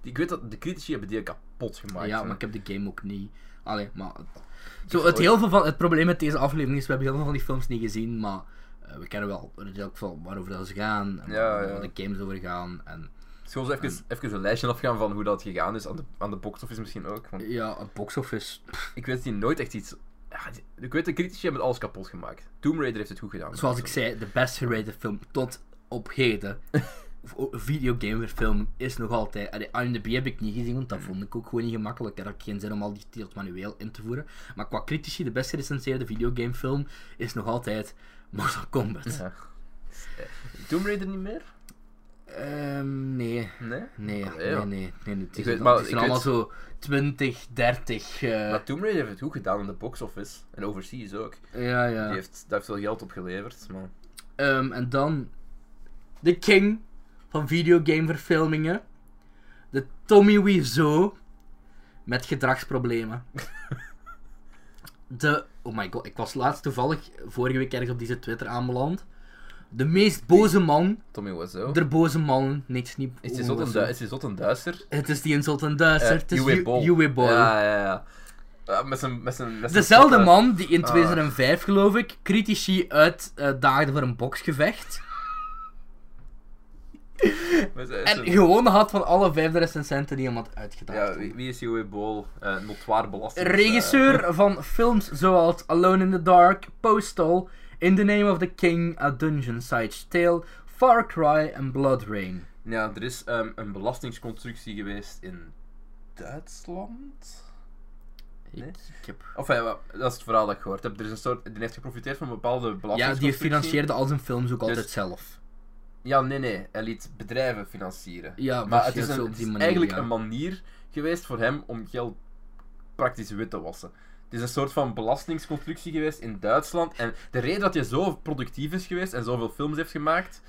Speaker 2: Ik weet dat de critici hebben die kapot gemaakt.
Speaker 1: Ja,
Speaker 2: hè.
Speaker 1: maar ik heb de game ook niet. Allee, maar. het- Zo, het,
Speaker 2: ooit-
Speaker 1: heel veel van, het probleem met deze aflevering is: we hebben heel veel van die films niet gezien, maar eh, we kennen wel redelijk veel waarover dat ze gaan. En
Speaker 2: Ja,
Speaker 1: waar
Speaker 2: ja.
Speaker 1: de games over gaan. En
Speaker 2: Dus gewoon zo even, even een lijstje afgaan van hoe dat gegaan is. Aan de, aan de box-office misschien ook. Want
Speaker 1: ja, een box office. pff,
Speaker 2: ik weet die nooit echt iets... Ja, die- ik weet, de critici hebben alles kapot gemaakt. Tomb Raider heeft het goed gedaan.
Speaker 1: Zoals ik zei, de best gerated film tot op heden. v- videogameverfilm is nog altijd. Allee, IMDb heb ik niet gezien, want
Speaker 2: Mm.
Speaker 1: dat vond ik ook gewoon niet gemakkelijk. Daar had ik geen zin om al die titels manueel in te voeren. Maar qua critici, de best gerecenseerde videogamefilm is nog altijd Mortal Kombat.
Speaker 2: Ja. Tomb Raider niet meer?
Speaker 1: Ehm, nee.
Speaker 2: Nee?
Speaker 1: Nee,
Speaker 2: Allee,
Speaker 1: nee, nee,
Speaker 2: joh.
Speaker 1: nee, nee. Het
Speaker 2: Ik
Speaker 1: is,
Speaker 2: weet-
Speaker 1: al-
Speaker 2: maar
Speaker 1: het is
Speaker 2: ik
Speaker 1: allemaal
Speaker 2: weet-
Speaker 1: zo 20, 30. eh,
Speaker 2: Maar Tomb Raider heeft het goed gedaan in de box office. En overseas ook.
Speaker 1: ja, ja.
Speaker 2: Die heeft, daar heeft veel geld op geleverd. Maar...
Speaker 1: Ehm, en dan de king van videogameverfilmingen. De Tommy Wiseau met gedragsproblemen. De, oh my god, ik was laatst toevallig vorige week ergens op deze Twitter aanbeland. De meest boze man,
Speaker 2: Tommy Wiseau.
Speaker 1: der boze man, niks niet.
Speaker 2: Is die zot en du- is die zot en duister?
Speaker 1: Het is die insult en duister,
Speaker 2: Eh,
Speaker 1: het is
Speaker 2: Uwe
Speaker 1: Uwe
Speaker 2: Boll.
Speaker 1: Uwe Boll.
Speaker 2: Ja, Ah. ja, ja. Ah, met zijn... Met zijn met zijn
Speaker 1: Dezelfde
Speaker 2: zotte-
Speaker 1: man die in 2005, geloof ik, critici uitdaagde voor een boksgevecht.
Speaker 2: met zijn-
Speaker 1: En
Speaker 2: zijn-
Speaker 1: gewoon had van alle vijfde recensenten die iemand uitgedaagd
Speaker 2: Ja,
Speaker 1: had.
Speaker 2: wie, wie is Uwe Boll? Eh notwaar belastend.
Speaker 1: Regisseur van films zoals Alone in the Dark, Postal, In the Name of the King, A Dungeon Side's Tale, Far Cry en Blood Rain.
Speaker 2: eh, ja, er is ehm, een belastingsconstructie geweest in Duitsland? Nee?
Speaker 1: Ik heb...
Speaker 2: Of ja, wa- dat is het verhaal dat ik gehoord heb. Er is een soort, die heeft geprofiteerd van een bepaalde
Speaker 1: Ja,
Speaker 2: belasting.
Speaker 1: die financierde al zijn films ook altijd
Speaker 2: Dus-
Speaker 1: zelf.
Speaker 2: Ja, nee, nee. Hij liet bedrijven financieren.
Speaker 1: Ja,
Speaker 2: maar het is,
Speaker 1: zo
Speaker 2: een,
Speaker 1: op
Speaker 2: het
Speaker 1: die
Speaker 2: is
Speaker 1: manier,
Speaker 2: eigenlijk
Speaker 1: ja.
Speaker 2: een manier geweest voor hem om geld praktisch wit te wassen. Het is een soort van belastingsconstructie geweest in Duitsland. En de reden dat hij zo productief is geweest en zoveel films heeft gemaakt,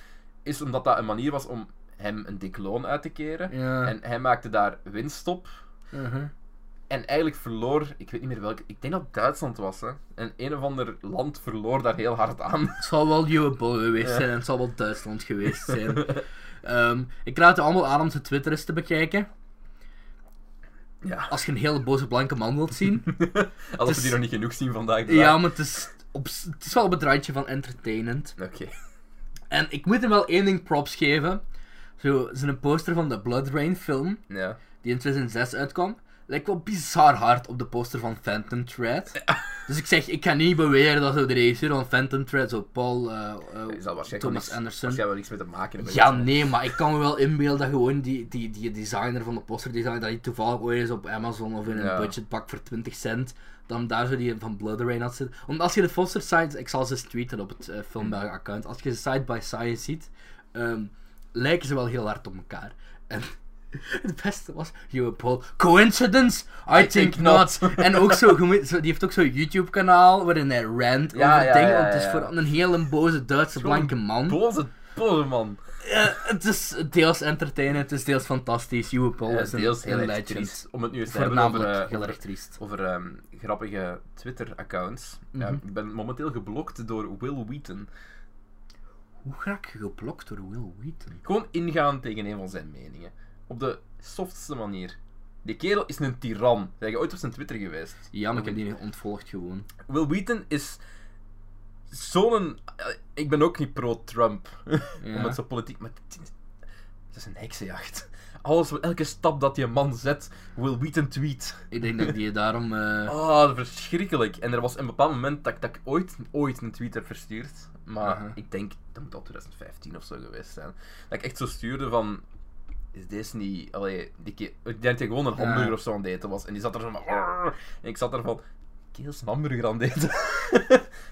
Speaker 2: is omdat dat een manier was om hem een dik loon uit te keren.
Speaker 1: Ja,
Speaker 2: En hij maakte daar winst op.
Speaker 1: mhm.
Speaker 2: En eigenlijk verloor, ik weet niet meer welke, ik denk dat het Duitsland was. Hè. En een of ander land verloor daar heel hard aan.
Speaker 1: Het zal wel Uwe Boll geweest
Speaker 2: Ja.
Speaker 1: zijn en het zal wel Duitsland geweest zijn. Ehm, ik raad je allemaal aan om zijn Twitter eens te bekijken.
Speaker 2: Ja,
Speaker 1: Als je een hele boze blanke man wilt zien.
Speaker 2: als
Speaker 1: is-
Speaker 2: we die nog niet genoeg zien vandaag. de
Speaker 1: Ja,
Speaker 2: dag.
Speaker 1: maar het is, op, s- het is wel op het randje van entertainend.
Speaker 2: Oké.
Speaker 1: En ik moet hem wel één ding props geven. Zo, zijn poster van de Blood Rain film,
Speaker 2: Ja.
Speaker 1: die in 2006 uitkwam, lijkt wel bizar hard op de poster van Phantom Thread. Dus ik zeg, ik kan niet beweren dat zo de regisseur van Phantom Thread, zo Paul eh, eh,
Speaker 2: Je zal waarschijnlijk wel
Speaker 1: Thomas
Speaker 2: niks-
Speaker 1: Anderson...
Speaker 2: waarschijnlijk wel niks mee te maken hebben.
Speaker 1: Ja, nee, maar ik kan me wel inbeelden dat gewoon die, die, die designer van de posterdesigner, dat hij toevallig ooit eens op Amazon of in een
Speaker 2: Ja.
Speaker 1: budgetbak voor 20 cent, dan daar zo die van Blood Rain had zitten. Want als je de poster side, ik zal ze eens tweeten op het eh, Filmberg account, als je ze side by side ziet, ehm, lijken ze wel heel hard op elkaar. En het beste was, Joe Paul, coincidence? I, think,
Speaker 2: think
Speaker 1: not.
Speaker 2: not.
Speaker 1: en ook zo, je moet- zo- die heeft ook zo'n YouTube-kanaal waarin hij rant
Speaker 2: Ja,
Speaker 1: over
Speaker 2: ja,
Speaker 1: dingen,
Speaker 2: ja,
Speaker 1: want het is
Speaker 2: ja.
Speaker 1: vooral een hele boze Duitse
Speaker 2: Gewoon
Speaker 1: blanke man.
Speaker 2: Boze, boze man.
Speaker 1: Eh, het is deels entertainend, het is deels fantastisch. Uwe Paul
Speaker 2: Eh,
Speaker 1: is een
Speaker 2: deels
Speaker 1: heel
Speaker 2: heel erg
Speaker 1: legend.
Speaker 2: triest. Om het nu eens te hebben over,
Speaker 1: Voornamelijk
Speaker 2: eh,
Speaker 1: heel
Speaker 2: over,
Speaker 1: erg triest.
Speaker 2: over ehm, grappige Twitter-accounts. Ja,
Speaker 1: Mhm.
Speaker 2: ik ben momenteel geblokt door Will Wheaton.
Speaker 1: Hoe raak je geblokt door Will Wheaton?
Speaker 2: Gewoon ingaan tegen een van zijn meningen. Op de softste manier. Die kerel is een tiran. Zijn je ooit op zijn Twitter geweest?
Speaker 1: Ja, maar ik heb die niet ontvolgd gewoon.
Speaker 2: Will Wheaton is zo'n... eh, Ik ben ook niet pro-Trump.
Speaker 1: Ja.
Speaker 2: Omdat ze politiek. Maar het is, het is een heksenjacht. Alles, wat- elke stap dat die man zet, Will Wheaton tweet.
Speaker 1: Ik denk dat die daarom... eh,
Speaker 2: Ah, verschrikkelijk. En er was een bepaald moment dat, ik- dat ik ooit, ooit een tweet heb verstuurd. Maar
Speaker 1: Aha.
Speaker 2: ik denk, dat moet al 2015 of zo geweest zijn. Dat ik echt zo stuurde van. Is deze niet. Allee, die ke- ik denk dat hij gewoon een
Speaker 1: Ja.
Speaker 2: hamburger of zo aan het eten was. En die zat er zo van. "Arr." En ik zat er van. Keel is een hamburger aan het eten.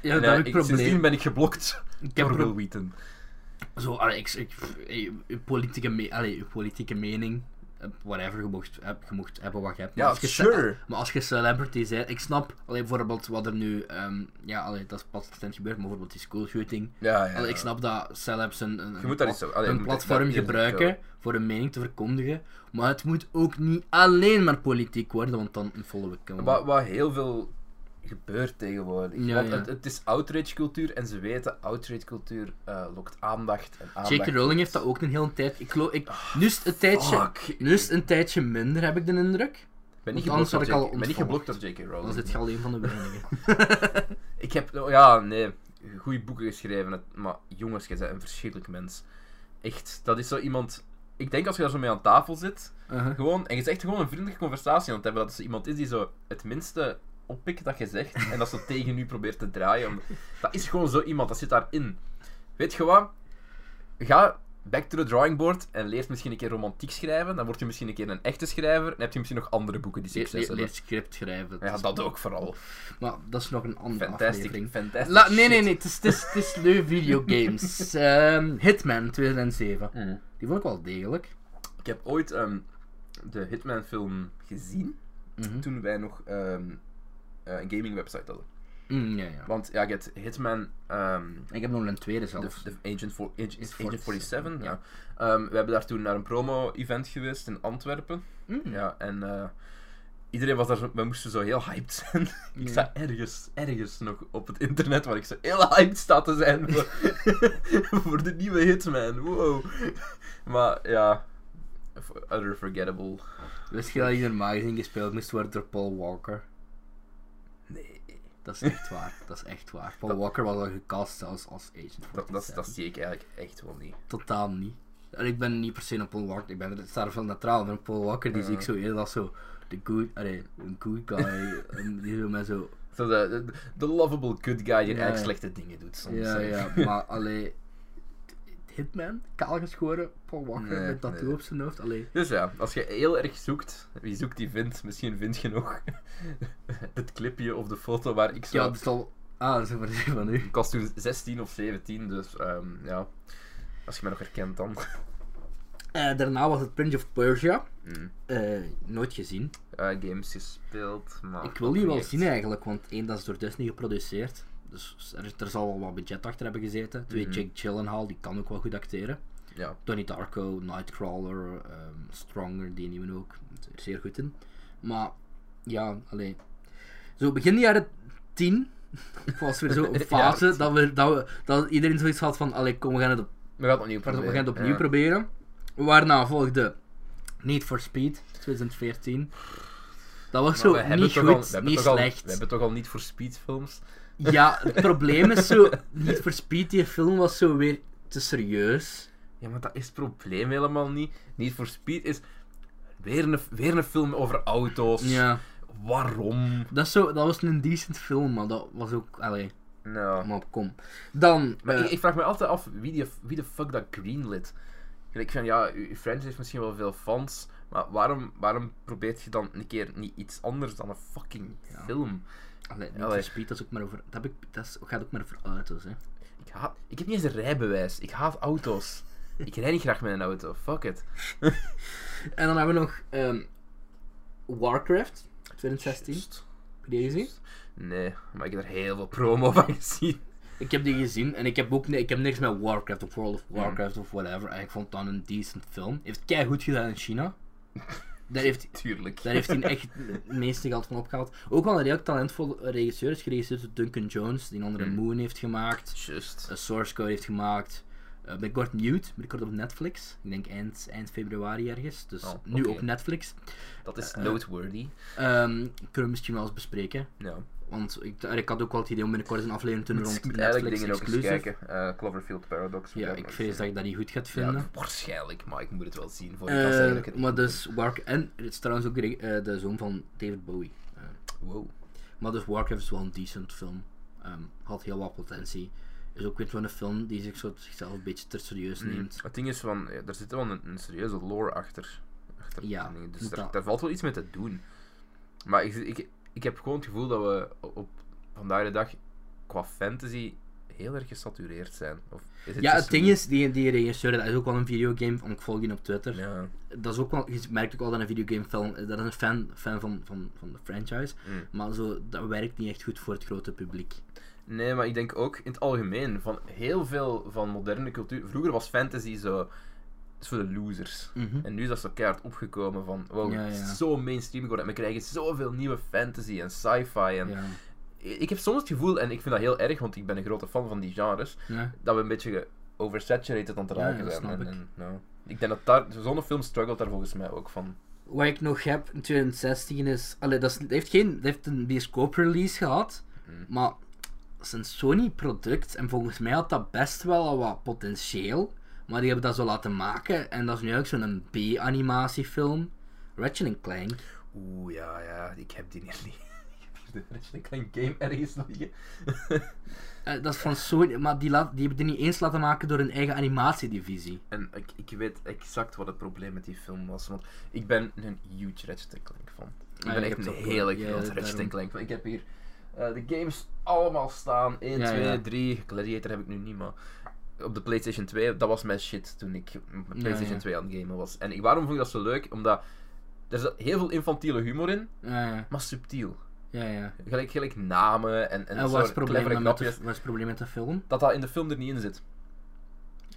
Speaker 1: ja,
Speaker 2: En,
Speaker 1: dat
Speaker 2: eh,
Speaker 1: heb ik
Speaker 2: ik-
Speaker 1: probleem.
Speaker 2: Sindsdien ben ik geblokt
Speaker 1: Ik heb
Speaker 2: door
Speaker 1: pro-
Speaker 2: Will Wheaton.
Speaker 1: Zo, allee, ik, ik, eh, uw politieke, me allee, uw politieke mening, eh, whatever, je mocht, heb- je mocht hebben wat je hebt. Maar
Speaker 2: Ja,
Speaker 1: als je ce-
Speaker 2: sure.
Speaker 1: Maar als je celebrity bent, ik snap, allee, bijvoorbeeld wat er nu, ehm, ja, allee, dat is pas recent gebeurd, maar bijvoorbeeld die schoolshooting.
Speaker 2: Ja, ja.
Speaker 1: Allee, ik snap dat celebs een, een,
Speaker 2: Je moet daar iets zo- allee, je
Speaker 1: een
Speaker 2: moet-
Speaker 1: platform
Speaker 2: dat is
Speaker 1: gebruiken voor een mening te verkondigen. Maar het moet ook niet alleen maar politiek worden, want dan volgen we elkaar.
Speaker 2: Wat, wat heel veel gebeurt tegenwoordig.
Speaker 1: Ja,
Speaker 2: Want
Speaker 1: ja.
Speaker 2: Het, het is outrage cultuur en ze weten, outrage cultuur eh, lokt aandacht en aandacht.
Speaker 1: J.K. Rowling heeft dat ook een hele tijd. Ik, geloof- ik, nu is het een tijdje,
Speaker 2: Ah, Fuck.
Speaker 1: nu is het een tijdje minder, heb ik de indruk.
Speaker 2: Ik ben niet
Speaker 1: Want anders
Speaker 2: geblokt
Speaker 1: had
Speaker 2: door
Speaker 1: ik
Speaker 2: J.K.
Speaker 1: al
Speaker 2: Ik ben niet
Speaker 1: ontvolgd.
Speaker 2: geblokt door J.K. Rowling.
Speaker 1: Dan zit je al een van de weinigen.
Speaker 2: Ik heb, oh ja, nee, goede boeken geschreven, het- maar jongens, je bent een verschrikkelijk mens. Echt, dat is zo iemand. Ik denk als je daar zo mee aan tafel zit,
Speaker 1: Uh-huh.
Speaker 2: gewoon, en je zegt gewoon een vriendelijke conversatie aan het hebben, dat is iemand is die zo het minste oppikt dat je zegt en dat ze tegen u probeert te draaien. om- Dat is gewoon zo iemand, dat zit daarin. Weet je wat? Ga back to the drawing board en leert misschien een keer romantiek schrijven. Dan wordt je misschien een keer een echte schrijver. En heb je misschien nog andere boeken die
Speaker 1: Le-
Speaker 2: succes
Speaker 1: le-
Speaker 2: hebben.
Speaker 1: leert script schrijven.
Speaker 2: Ja,
Speaker 1: is-
Speaker 2: dat ook vooral.
Speaker 1: Maar dat is nog een andere
Speaker 2: Fantastic,
Speaker 1: aflevering.
Speaker 2: fantastic
Speaker 1: La, nee, nee,
Speaker 2: shit.
Speaker 1: nee, het is, het is, het is leuke videogames. Ehm, Hitman 2007.
Speaker 2: Mm.
Speaker 1: Die vond ik wel degelijk.
Speaker 2: Ik heb ooit ehm, de Hitman-film gezien
Speaker 1: Mhm.
Speaker 2: toen wij nog ehm, eh, een gaming-website hadden.
Speaker 1: Mm, ja, ja.
Speaker 2: Want ja, je hebt Hitman, ehm,
Speaker 1: Ik heb nog een tweede
Speaker 2: de,
Speaker 1: zelfs.
Speaker 2: de Agent, for, Agent,
Speaker 1: Is
Speaker 2: Agent
Speaker 1: 47,
Speaker 2: 47. Ja.
Speaker 1: ja.
Speaker 2: Ehm, we hebben daar toen naar een promo-event geweest in Antwerpen.
Speaker 1: Mm.
Speaker 2: Ja, en eh, iedereen was daar, zo- we moesten zo heel hyped zijn. Ik
Speaker 1: Ja.
Speaker 2: sta ergens, ergens nog op het internet waar ik zo heel hyped sta te zijn voor, voor de nieuwe Hitman. Wow. Maar ja, utter forgettable.
Speaker 1: Wist je dat in een magazine gespeeld moest worden door Paul Walker?
Speaker 2: Nee,
Speaker 1: Dat is echt waar. Dat is echt waar. Paul Walker was al gecast zelfs als agent.
Speaker 2: dat, dat,
Speaker 1: 47.
Speaker 2: dat zie ik eigenlijk echt wel niet.
Speaker 1: Totaal niet. En ik ben niet per se een Paul Walker. Ik ben ik sta er veel neutraal. Maar Paul Walker die zie ik zo eerder als zo de good, allee, een good guy. en die zo met zo.
Speaker 2: Zo de, de, de lovable good guy die
Speaker 1: ja.
Speaker 2: eigenlijk slechte dingen doet soms.
Speaker 1: Ja,
Speaker 2: hè.
Speaker 1: ja, maar allee. Hitman, kaal geschoren, Paul Walker
Speaker 2: Nee,
Speaker 1: met tattoo
Speaker 2: nee.
Speaker 1: op zijn hoofd. Allee.
Speaker 2: Dus ja, als je heel erg zoekt, wie zoekt die vindt, misschien vind je nog het clipje of de foto waar ik zo...
Speaker 1: Ja, dat is al. Ah, dat is een versie van u.
Speaker 2: Ik was toen 16 of 17, dus ehm, ja. Als je mij nog herkent dan.
Speaker 1: Eh, daarna was het Prince of Persia.
Speaker 2: Mm.
Speaker 1: Eh, nooit gezien.
Speaker 2: Eh, games gespeeld, maar...
Speaker 1: Ik wil die
Speaker 2: ook
Speaker 1: wel
Speaker 2: Ah, niet echt.
Speaker 1: zien eigenlijk, want één, dat is door Disney geproduceerd. Dus er, er zal wel wat budget achter hebben gezeten. Twee,
Speaker 2: Mhm.
Speaker 1: Jake Gyllenhaal, die kan ook wel goed acteren.
Speaker 2: Ja.
Speaker 1: Donnie Darko, Nightcrawler, ehm, Stronger, die nieuwe ook. is er zeer goed in. Maar, ja, alleen. Zo begin jaren 10 was weer zo een
Speaker 2: Ja,
Speaker 1: fase
Speaker 2: het-
Speaker 1: dat, we, dat, we, dat iedereen zoiets had van, allee, kom, we gaan het, op,
Speaker 2: We gaan het opnieuw
Speaker 1: we gaan
Speaker 2: proberen.
Speaker 1: het opnieuw
Speaker 2: ja.
Speaker 1: proberen. Waarna volgde Need for Speed 2014. Dat was
Speaker 2: Maar
Speaker 1: zo
Speaker 2: we hebben
Speaker 1: niet
Speaker 2: toch
Speaker 1: goed,
Speaker 2: al- we hebben
Speaker 1: niet
Speaker 2: toch al-
Speaker 1: slecht.
Speaker 2: we hebben toch al niet voor speedfilms?
Speaker 1: Ja, het probleem is zo. Niet for Speed, die film was zo weer te serieus.
Speaker 2: Ja, maar dat is het probleem helemaal niet. Niet voor speed is... Weer een, weer een film over auto's.
Speaker 1: Ja.
Speaker 2: Waarom?
Speaker 1: Dat, is zo, dat was een decent film, maar dat was ook. Allee,
Speaker 2: Nou...
Speaker 1: maar kom. Dan.
Speaker 2: Maar
Speaker 1: eh,
Speaker 2: ik, ik vraag me altijd af wie, die, wie de fuck dat greenlit. En ik vind, ja, uw uw franchise heeft misschien wel veel fans, maar waarom, waarom probeert je dan een keer niet iets anders dan een fucking
Speaker 1: Ja.
Speaker 2: film?
Speaker 1: allee, Need
Speaker 2: allee.
Speaker 1: for Speed, dat is ook maar over. Dat, heb ik, dat is, gaat ook maar over auto's, hè.
Speaker 2: Ik, haat, ik heb niet eens een rijbewijs, ik haat auto's. ik rijd niet graag met een auto, fuck it.
Speaker 1: En dan hebben we nog. ehm, Warcraft 2016. Heb
Speaker 2: Just.
Speaker 1: je die gezien?
Speaker 2: Nee, maar ik heb er heel veel promo van gezien.
Speaker 1: Ik heb die gezien en ik heb ook ni- ik heb niks met Warcraft of World of Warcraft of whatever. En ik vond dat een decent film. Heeft kei goed gedaan in China. Daar heeft
Speaker 2: Tuurlijk.
Speaker 1: Daar heeft hij echt het meeste geld van opgehaald. Ook wel een heel talentvol regisseur is geregisseerd door Duncan Jones, die een andere
Speaker 2: Hmm.
Speaker 1: Moon heeft gemaakt,
Speaker 2: Just.
Speaker 1: een Source Code heeft gemaakt. Eh binnenkort Mute, binnenkort op Netflix. Ik denk eind, eind februari ergens. Dus
Speaker 2: Oh,
Speaker 1: nu
Speaker 2: oké.
Speaker 1: op Netflix.
Speaker 2: Dat is
Speaker 1: eh,
Speaker 2: noteworthy.
Speaker 1: Ehm, kunnen we misschien wel eens bespreken.
Speaker 2: Ja.
Speaker 1: Want ik, ik had ook wel het idee om binnenkort een aflevering te doen
Speaker 2: Dus
Speaker 1: rond
Speaker 2: ik moet eigenlijk
Speaker 1: Netflix
Speaker 2: dingen ook eens
Speaker 1: exclusive.
Speaker 2: kijken. Eh, Cloverfield Paradox. moet
Speaker 1: Ja,
Speaker 2: ook
Speaker 1: ik
Speaker 2: nog
Speaker 1: vrees
Speaker 2: eens-
Speaker 1: dat ik dat niet goed gaat vinden.
Speaker 2: Ja, waarschijnlijk, maar ik moet het wel zien voor ik kan zeggen dat ik
Speaker 1: Eh,
Speaker 2: het
Speaker 1: maar
Speaker 2: niet goed
Speaker 1: dus Warc En het is trouwens ook de, reg- eh, de zoon van David Bowie. Eh,
Speaker 2: vind. Wow.
Speaker 1: Maar dus Warcraft is wel een decent film. Ehm, had heel wat potentie. Is ook weer zo'n film die zich zo, zichzelf een beetje te serieus neemt.
Speaker 2: Hmm. Het ding is van, ja, er zit wel een, een serieuze lore achter. achter
Speaker 1: Ja,
Speaker 2: die dingen, dus
Speaker 1: moet
Speaker 2: daar,
Speaker 1: dat-
Speaker 2: daar valt wel iets mee te doen. Maar ik, ik, ik heb gewoon het gevoel dat we op vandaag de dag qua fantasy heel erg gesatureerd zijn. Of is
Speaker 1: Ja,
Speaker 2: just
Speaker 1: het ding
Speaker 2: me?
Speaker 1: is, die, die regisseur, dat is ook wel een videogame, want ik volg die op Twitter.
Speaker 2: Ja.
Speaker 1: Dat is ook wel, je merkt ook wel dat een videogame film, dat is een fan, fan van, van, van de franchise.
Speaker 2: Mm.
Speaker 1: Maar zo, dat werkt niet echt goed voor het grote publiek.
Speaker 2: Nee, maar ik denk ook in het algemeen van heel veel van moderne cultuur. Vroeger was fantasy zo. is voor de losers.
Speaker 1: Mhm.
Speaker 2: En nu is dat zo keihard opgekomen van. Wow,
Speaker 1: Ja,
Speaker 2: het
Speaker 1: ja.
Speaker 2: is zo mainstream geworden. En we krijgen zoveel nieuwe fantasy en sci-fi. En
Speaker 1: Ja.
Speaker 2: Ik heb soms het gevoel, en ik vind dat heel erg, want ik ben een grote fan van die genres,
Speaker 1: Ja.
Speaker 2: dat we een beetje oversaturated aan het
Speaker 1: Ja,
Speaker 2: raken
Speaker 1: ja, dat
Speaker 2: zijn.
Speaker 1: snap
Speaker 2: en,
Speaker 1: ik.
Speaker 2: en, ja. ik denk dat daar, zo'n film struggelt daar volgens mij ook van.
Speaker 1: Wat ik nog heb in 2016 is. Allee, dat, is, dat heeft geen, dat heeft een bioscoop-release gehad.
Speaker 2: Mhm.
Speaker 1: Maar dat is een Sony-product. En volgens mij had dat best wel al wat potentieel. Maar die hebben dat zo laten maken. En dat is nu ook zo'n B-animatiefilm. Ratchet Clank.
Speaker 2: Oeh, ja, ja, ik heb die niet. de Ratchet Clank game ergens liggen.
Speaker 1: Eh, dat is van Sony, maar die, laat, die hebben die niet eens laten maken door hun eigen animatiedivisie.
Speaker 2: En ik, ik weet exact wat het probleem met die film was. Want ik ben een huge Ratchet Clank fan. Ik
Speaker 1: Ah,
Speaker 2: ben
Speaker 1: ja, je
Speaker 2: echt
Speaker 1: hebt
Speaker 2: een
Speaker 1: ook,
Speaker 2: hele
Speaker 1: ja,
Speaker 2: grote
Speaker 1: ja,
Speaker 2: Ratchet
Speaker 1: daarom.
Speaker 2: Clank fan. Ik heb hier eh, de games allemaal staan. 1,
Speaker 1: Ja,
Speaker 2: 2,
Speaker 1: ja.
Speaker 2: 3. Gladiator heb ik nu niet, maar... Op de PlayStation 2, dat was mijn shit toen ik op mijn
Speaker 1: Ja,
Speaker 2: PlayStation
Speaker 1: ja.
Speaker 2: 2 aan het gamen was. En ik, waarom vond ik dat zo leuk? Omdat er zat heel veel infantiele humor in,
Speaker 1: Ja, ja,
Speaker 2: maar subtiel.
Speaker 1: Eh, ja. ja.
Speaker 2: Gelijk, gelijk namen en, en,
Speaker 1: En wat
Speaker 2: soort
Speaker 1: is het probleem
Speaker 2: clevere
Speaker 1: dan met de,
Speaker 2: knopjes.
Speaker 1: wat is het probleem met de film?
Speaker 2: Dat dat in de film er niet in zit.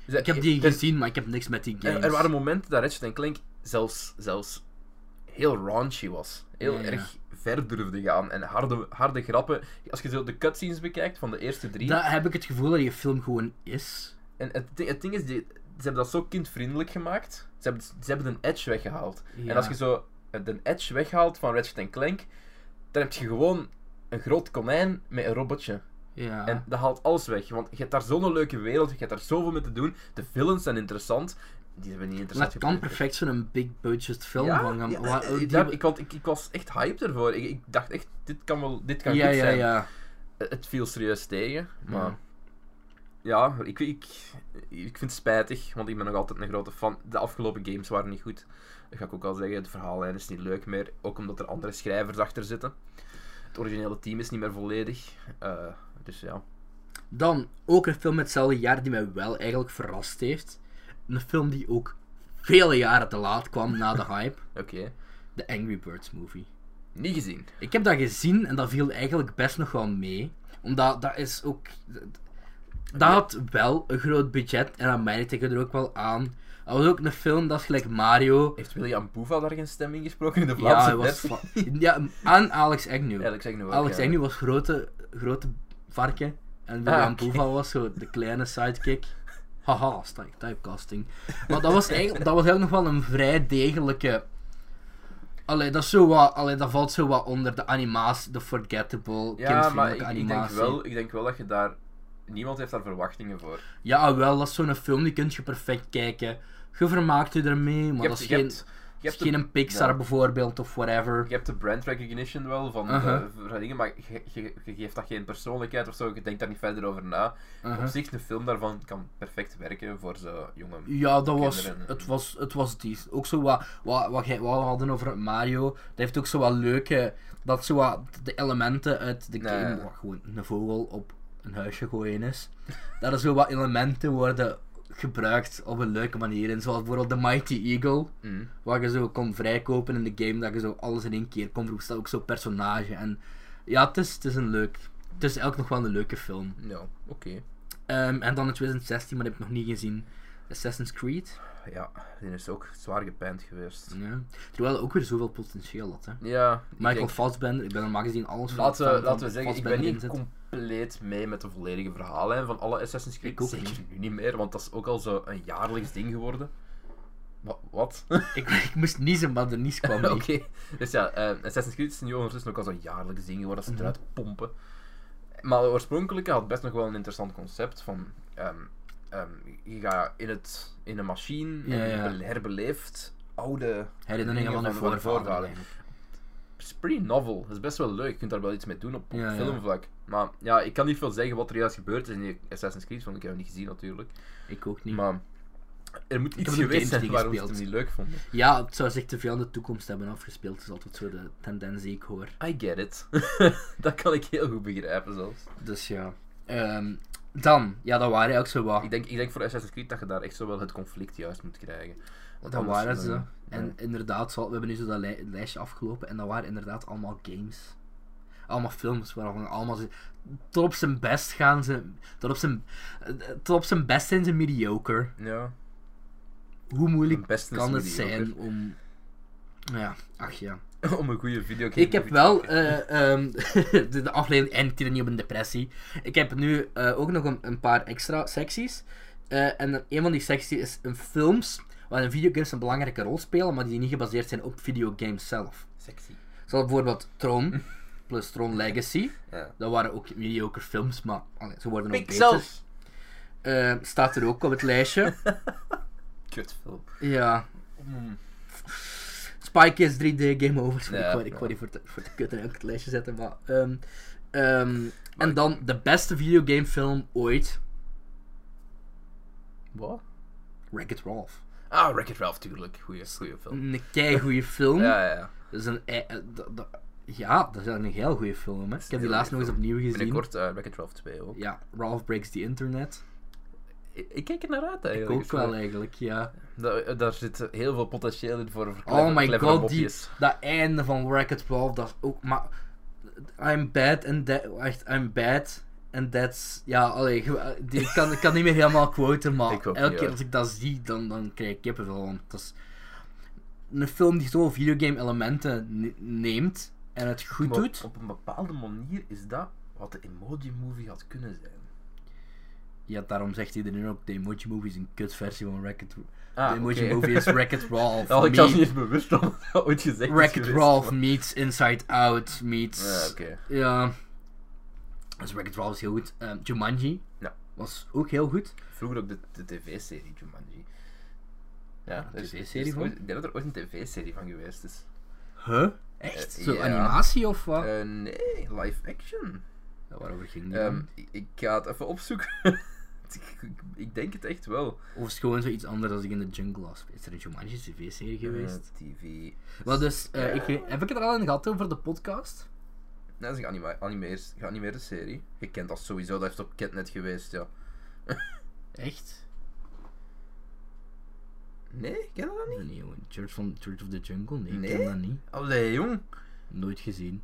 Speaker 2: Dus
Speaker 1: Ik heb die gezien, maar ik heb niks met die games.
Speaker 2: Er, er waren momenten dat Ratchet Clank zelfs, zelfs heel raunchy was. Heel
Speaker 1: Ja, ja.
Speaker 2: erg ver durfde gaan en harde, harde grappen. Als je zo de cutscenes bekijkt van de eerste drie.
Speaker 1: Daar heb ik het gevoel dat die film gewoon is.
Speaker 2: En het, ding- het ding is, die, ze hebben dat zo kindvriendelijk gemaakt. Ze hebben, ze hebben een edge weggehaald.
Speaker 1: Ja.
Speaker 2: En als je zo eh, de edge weghaalt van Ratchet Clank, dan heb je gewoon een groot konijn met een robotje.
Speaker 1: Ja.
Speaker 2: En dat haalt alles weg. Want je hebt daar zo'n leuke wereld, je hebt daar zoveel mee te doen. De villains zijn interessant. Die hebben niet
Speaker 1: maar
Speaker 2: interessant
Speaker 1: het kan
Speaker 2: geproduceerd.
Speaker 1: perfect zo'n big budget film
Speaker 2: Ja,
Speaker 1: van gaan.
Speaker 2: ja,
Speaker 1: wa-
Speaker 2: eh,
Speaker 1: die-
Speaker 2: daar- ik, want ik, ik was echt hyped ervoor. Ik, ik dacht echt, dit kan wel dit kan
Speaker 1: ja,
Speaker 2: goed
Speaker 1: ja, Mm.
Speaker 2: zijn.
Speaker 1: ja.
Speaker 2: Eh, Het viel serieus tegen, maar...
Speaker 1: Ja.
Speaker 2: Ja, ik, ik, ik vind het spijtig, want ik ben nog altijd een grote fan. De afgelopen games waren niet goed. Dat ga ik ook al zeggen. De verhaallijn is niet leuk meer, ook omdat er andere schrijvers achter zitten. Het originele team is niet meer volledig. Eh, dus ja.
Speaker 1: Dan ook een film met hetzelfde jaar die mij wel eigenlijk verrast heeft. Een film die ook vele jaren te laat kwam na de hype.
Speaker 2: Oké.
Speaker 1: De Angry Birds movie.
Speaker 2: Niet gezien.
Speaker 1: Ik heb dat gezien en dat viel eigenlijk best nog wel mee. Omdat dat is ook. Dat had wel een groot budget en dat merkte ik er ook wel aan. Dat was ook een film, dat is gelijk Mario.
Speaker 2: Heeft William Boeva daar geen stem in gesproken in de
Speaker 1: Ja,
Speaker 2: Vlaamse
Speaker 1: hij was.
Speaker 2: versie?
Speaker 1: va- Ja, aan Alex Agnew.
Speaker 2: Eigenlijk zeg ik nu ook,
Speaker 1: Alex
Speaker 2: ja.
Speaker 1: Agnew was grote, grote varken. En William
Speaker 2: Ah, oké.
Speaker 1: Boeva was zo de kleine sidekick. Haha, sty- typecasting. Maar dat was, eigenlijk, dat was eigenlijk nog wel een vrij degelijke. Allee, dat, is zo wat, allee, dat valt zo wat onder de animatie, de forgettable,
Speaker 2: Ja, maar
Speaker 1: kindvriendelijke
Speaker 2: ik, ik, denk
Speaker 1: animatie.
Speaker 2: wel, ik denk wel dat je daar. Niemand heeft daar verwachtingen voor.
Speaker 1: Ja, ah, wel, dat is zo'n film, die kun je perfect kijken. Je vermaakt je ermee, maar
Speaker 2: Je
Speaker 1: dat
Speaker 2: hebt,
Speaker 1: is
Speaker 2: je
Speaker 1: geen,
Speaker 2: hebt, je
Speaker 1: is
Speaker 2: hebt
Speaker 1: geen
Speaker 2: de,
Speaker 1: een Pixar
Speaker 2: ja.
Speaker 1: bijvoorbeeld of whatever.
Speaker 2: je hebt de brand recognition wel van
Speaker 1: Uh-huh.
Speaker 2: de, van dingen, maar je, je, je geeft dat geen persoonlijkheid of zo. Je denkt daar niet verder over na. Op
Speaker 1: Uh-huh.
Speaker 2: zich, de film daarvan kan perfect werken voor zo'n jongen.
Speaker 1: Ja, dat was,
Speaker 2: kinderen.
Speaker 1: het was, het was die. Ook zo wat, wat, wat, jij- wat we hadden over Mario, dat heeft ook zo wat leuke, dat zo wat de elementen uit de
Speaker 2: Nee.
Speaker 1: game, wat gewoon een vogel op een huisje gooien is, dat er zo wat elementen worden gebruikt op een leuke manier. En zoals bijvoorbeeld de Mighty Eagle,
Speaker 2: Mm.
Speaker 1: waar je zo kon vrijkopen in de game, dat je zo alles in één keer kon roepen, staat ook zo'n personage. En ja, het is, het is een leuk, het is eigenlijk nog wel een leuke film.
Speaker 2: Ja, oké.
Speaker 1: Ehm, en dan in 2016, maar dat heb ik nog niet gezien, Assassin's Creed.
Speaker 2: Ja, die is ook zwaar gepijnd geweest.
Speaker 1: Ja. Terwijl ook weer zoveel potentieel had. Hè.
Speaker 2: Ja, ik
Speaker 1: Michael
Speaker 2: denk-
Speaker 1: Fassbender, ik ben normaal gezien alles van
Speaker 2: laten,
Speaker 1: fan
Speaker 2: we,
Speaker 1: van
Speaker 2: laten we zeggen, ik ben
Speaker 1: Fassbender
Speaker 2: niet
Speaker 1: in zit.
Speaker 2: compleet mee met de volledige verhalen van alle Assassin's Creed.
Speaker 1: Ik ook
Speaker 2: Zeker
Speaker 1: niet.
Speaker 2: nu niet meer, want dat is ook al zo een jaarlijks ding geworden. Wa- Wat?
Speaker 1: ik, ik moest niezen, maar de nies kwam
Speaker 2: Oké.
Speaker 1: niet.
Speaker 2: Dus ja, eh, Assassin's Creed is nu ondertussen ook al zo'n jaarlijks ding geworden
Speaker 1: Mhm.
Speaker 2: dat ze het eruit pompen. Maar de oorspronkelijke had best nog wel een interessant concept van... ehm, ehm, je gaat in, het, in een machine
Speaker 1: Ja,
Speaker 2: en je
Speaker 1: ja.
Speaker 2: bele- herbeleeft oude...
Speaker 1: Herinneringen van de
Speaker 2: van de
Speaker 1: voorvader.
Speaker 2: voorvader.
Speaker 1: eigenlijk.
Speaker 2: Het is pretty novel. Dat is best wel leuk. Je kunt daar wel iets mee doen op, op
Speaker 1: Ja, ja.
Speaker 2: filmvlak. Maar ja, ik kan niet veel zeggen wat er juist gebeurd is in die Assassin's Creed, want ik heb hem niet gezien natuurlijk.
Speaker 1: Ik ook niet.
Speaker 2: Maar er moet iets
Speaker 1: heb de
Speaker 2: geweest
Speaker 1: games
Speaker 2: zijn
Speaker 1: niet
Speaker 2: waarom ze het hem
Speaker 1: gespeeld.
Speaker 2: niet leuk vonden.
Speaker 1: Ja, het zou zich te veel in de toekomst hebben afgespeeld. Dat is altijd zo de tendens die ik hoor.
Speaker 2: I get it. dat kan ik heel goed begrijpen zelfs.
Speaker 1: Dus ja. Ehm, dan, ja, dat waren ook zo wat.
Speaker 2: Ik denk, ik denk voor Assassin's Creed dat je daar echt zo wel het conflict juist moet krijgen. Want
Speaker 1: Oh, Ah, Dat
Speaker 2: anders,
Speaker 1: waren
Speaker 2: eh,
Speaker 1: ze.
Speaker 2: ja.
Speaker 1: En inderdaad, zo- we hebben nu zo dat lij- lijstje afgelopen en dat waren inderdaad allemaal games. Allemaal films waarvan allemaal ze- tot op zijn best gaan ze. Tot op zijn, eh, tot op zijn best zijn ze mediocre.
Speaker 2: Ja,
Speaker 1: Hoe moeilijk
Speaker 2: het beste is
Speaker 1: kan het
Speaker 2: mediocre.
Speaker 1: zijn om. Nou Ja, ach ja.
Speaker 2: Om een goede videogame
Speaker 1: Ik heb
Speaker 2: te
Speaker 1: wel,
Speaker 2: maken.
Speaker 1: eh, ehm, de, de afleiding eindigt hier niet op een depressie. Ik heb nu eh, ook nog een, een paar extra secties. Eh, en een van die secties is een films waarin videogames een belangrijke rol spelen, maar die niet gebaseerd zijn op videogames zelf.
Speaker 2: Sexy.
Speaker 1: Zoals bijvoorbeeld Tron plus Tron Legacy.
Speaker 2: Ja.
Speaker 1: Dat waren ook mediocre films, maar allee, ze worden ook beter.
Speaker 2: Pixels!
Speaker 1: Eh, staat er ook op het lijstje.
Speaker 2: Kutfilm.
Speaker 1: Ja.
Speaker 2: Mm.
Speaker 1: Spy Kids 3D Game Over.
Speaker 2: Hmm. Ja,
Speaker 1: ik wou, ik wou
Speaker 2: ja.
Speaker 1: die voor de, voor de kut en ook het lijstje zetten, maar... ehm, ehm, en dan de beste videogamefilm ooit.
Speaker 2: Wat?
Speaker 1: Wreck-It Ralph.
Speaker 2: Ah, Wreck-It Ralph, tuurlijk. Goeie, goeie film.
Speaker 1: Een keigoede film.
Speaker 2: Ja, ja, ja.
Speaker 1: Dat is een... e- eh, dat- dat- ja, dat is een heel goede film, hè. Ik heb die
Speaker 2: heel
Speaker 1: laatst nog
Speaker 2: goeie
Speaker 1: eens opnieuw gezien.
Speaker 2: Binnenkort eh Wreck-It Ralph 2 ook.
Speaker 1: Ja, Ralph Breaks the Internet.
Speaker 2: Ik, ik kijk er naar uit
Speaker 1: Ik
Speaker 2: eigenlijk.
Speaker 1: ook wel, eigenlijk, ja.
Speaker 2: Da- daar zit heel veel potentieel in voor, voor
Speaker 1: Oh
Speaker 2: clevere-
Speaker 1: my
Speaker 2: clevere
Speaker 1: god, die,
Speaker 2: mopjes.
Speaker 1: dat einde van Wreck-It Ralph, dat is ook... Maar, I'm bad and that... Echt, I'm bad and that's... Ja, allee, ge- die, ik, kan, ik kan niet meer helemaal quoten, maar
Speaker 2: Ik ook
Speaker 1: elke
Speaker 2: niet,
Speaker 1: keer
Speaker 2: ja.
Speaker 1: als ik dat zie, dan, dan krijg ik kippenvel. Want dat is een film die zoveel videogame-elementen ne- neemt en het goed
Speaker 2: Maar
Speaker 1: doet.
Speaker 2: Op een bepaalde manier is dat wat de Emoji Movie had kunnen zijn.
Speaker 1: Ja, daarom zegt iedereen ook, de Emoji Movie is een kutversie van Wreck-It
Speaker 2: Ah,
Speaker 1: De Emoji
Speaker 2: oké.
Speaker 1: Movie is Wreck-It Ralph.
Speaker 2: Ja, Nou, ik was niet
Speaker 1: meet-
Speaker 2: eens bewust dat dat ooit gezegd is
Speaker 1: Wreck-It
Speaker 2: geweest,
Speaker 1: Ralph
Speaker 2: maar-
Speaker 1: meets Inside Out meets...
Speaker 2: Ja, oké.
Speaker 1: Ja. Dus Wreck-It Ralph is heel goed. Ehm, Jumanji
Speaker 2: Ja.
Speaker 1: was ook heel goed.
Speaker 2: Vroeger ook de, de tv-serie Jumanji. Ja,
Speaker 1: een
Speaker 2: er is- er is
Speaker 1: TV-serie van?
Speaker 2: ooit- Ik denk dat er ooit een tv-serie van geweest is.
Speaker 1: Huh? Echt?
Speaker 2: Eh,
Speaker 1: Zo
Speaker 2: ja.
Speaker 1: animatie of wat?
Speaker 2: Eh, nee, live action.
Speaker 1: Ja, waarover ging die?
Speaker 2: Ehm,
Speaker 1: dan?
Speaker 2: ik, ik ga het even opzoeken. ik, ik- ik denk het echt wel.
Speaker 1: of is het gewoon zoiets anders als ik in de jungle was? Is er een Jumanji tv-serie geweest?
Speaker 2: Eh, TV.
Speaker 1: Wel dus, eh, ik,
Speaker 2: Ja.
Speaker 1: heb ik het er al in gehad over de podcast?
Speaker 2: Nee, dat is een anima- animeers- geanimeerde serie. Je kent dat sowieso, dat is op Catnet geweest, ja.
Speaker 1: Echt?
Speaker 2: Nee, ken je dat niet?
Speaker 1: Nee, jongen. Church, van, Church of the Jungle? Nee, ik
Speaker 2: Nee?
Speaker 1: ken dat niet.
Speaker 2: Allee, jong.
Speaker 1: Nooit gezien.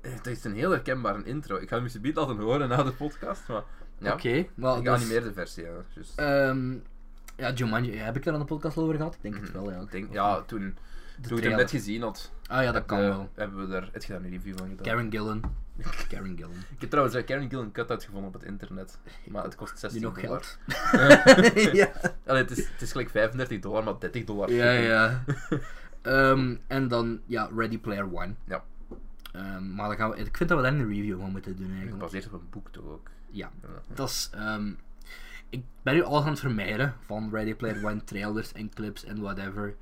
Speaker 2: Eh, Dat is een heel herkenbare intro. Ik ga hem subiet laten horen na de podcast, maar... Ja,
Speaker 1: Oké, maar
Speaker 2: de
Speaker 1: dus,
Speaker 2: geanimeerde versie, ja. juist.
Speaker 1: ehm, ja, Jumanji, heb ik daar aan de podcast al over gehad? Ik denk het wel, ja.
Speaker 2: Mhm. Ik denk, ja, toen, toen ik het
Speaker 1: trailer.
Speaker 2: net gezien had,
Speaker 1: Ah ja, dat kan
Speaker 2: eh,
Speaker 1: wel.
Speaker 2: hebben we er... Heb je daar een review van gedaan?
Speaker 1: Karen Gillen. Karen Gillen.
Speaker 2: Ik heb trouwens eh, Karen Gillan cut uitgevonden op het internet, maar het kost 16
Speaker 1: Die nog
Speaker 2: dollar.
Speaker 1: geld.
Speaker 2: ja. Allee, het is, het is gelijk 35 dollar, maar 30 dollar.
Speaker 1: Ja,
Speaker 2: shipping.
Speaker 1: ja. Ehm, en dan, ja, Ready Player One.
Speaker 2: Ja.
Speaker 1: Ehm, maar dan gaan we, ik vind dat we daar een review van moeten doen eigenlijk.
Speaker 2: Gebaseerd op een boek toch ook.
Speaker 1: Ja,
Speaker 2: Ja.
Speaker 1: dat is. ehm, ik ben nu alles aan het vermijden van Ready Player One trailers en clips en whatever.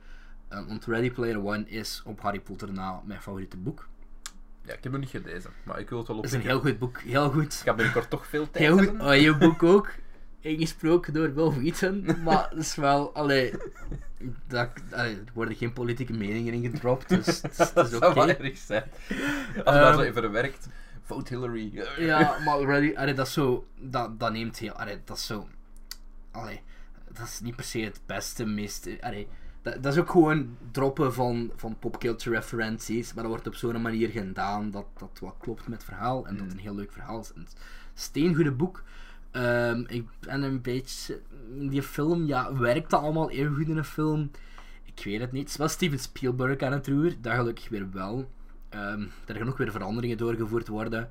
Speaker 1: Ehm, want Ready Player One is op Harry Potter na mijn favoriete boek.
Speaker 2: Ja, ik heb het nog niet gelezen, maar ik wil het wel op.
Speaker 1: Het is een heel goed boek, heel goed.
Speaker 2: Ik ga binnenkort toch veel tijd
Speaker 1: Heel goed Oh
Speaker 2: hebben.
Speaker 1: audioboek Ah, ook. Ingesproken door Will Wheaton. Maar het is wel, allee, dat, allee, er worden geen politieke meningen in gedropt, dus het is, het
Speaker 2: dat
Speaker 1: is
Speaker 2: zou
Speaker 1: oké.
Speaker 2: wel erg zijn. Als daar
Speaker 1: Ehm,
Speaker 2: zo even verwerkt. Vote Hillary. Eh,
Speaker 1: Ja, maar ready, allee, dat is zo, dat, dat neemt heel, allee, dat is zo, allee, dat is niet per se het beste, meest, allee, dat, dat is ook gewoon droppen van, van popculture referenties, maar dat wordt op zo'n manier gedaan dat dat wat klopt met het verhaal en dat het een heel leuk verhaal is. En het is een steengoede boek. Ehm, ik ben een beetje, die film, ja, werkt dat allemaal even goed in een film? Ik weet het niet. Het is wel Steven Spielberg aan het roer, dat gelukkig weer wel. Ehm daar gaan ook weer veranderingen doorgevoerd worden.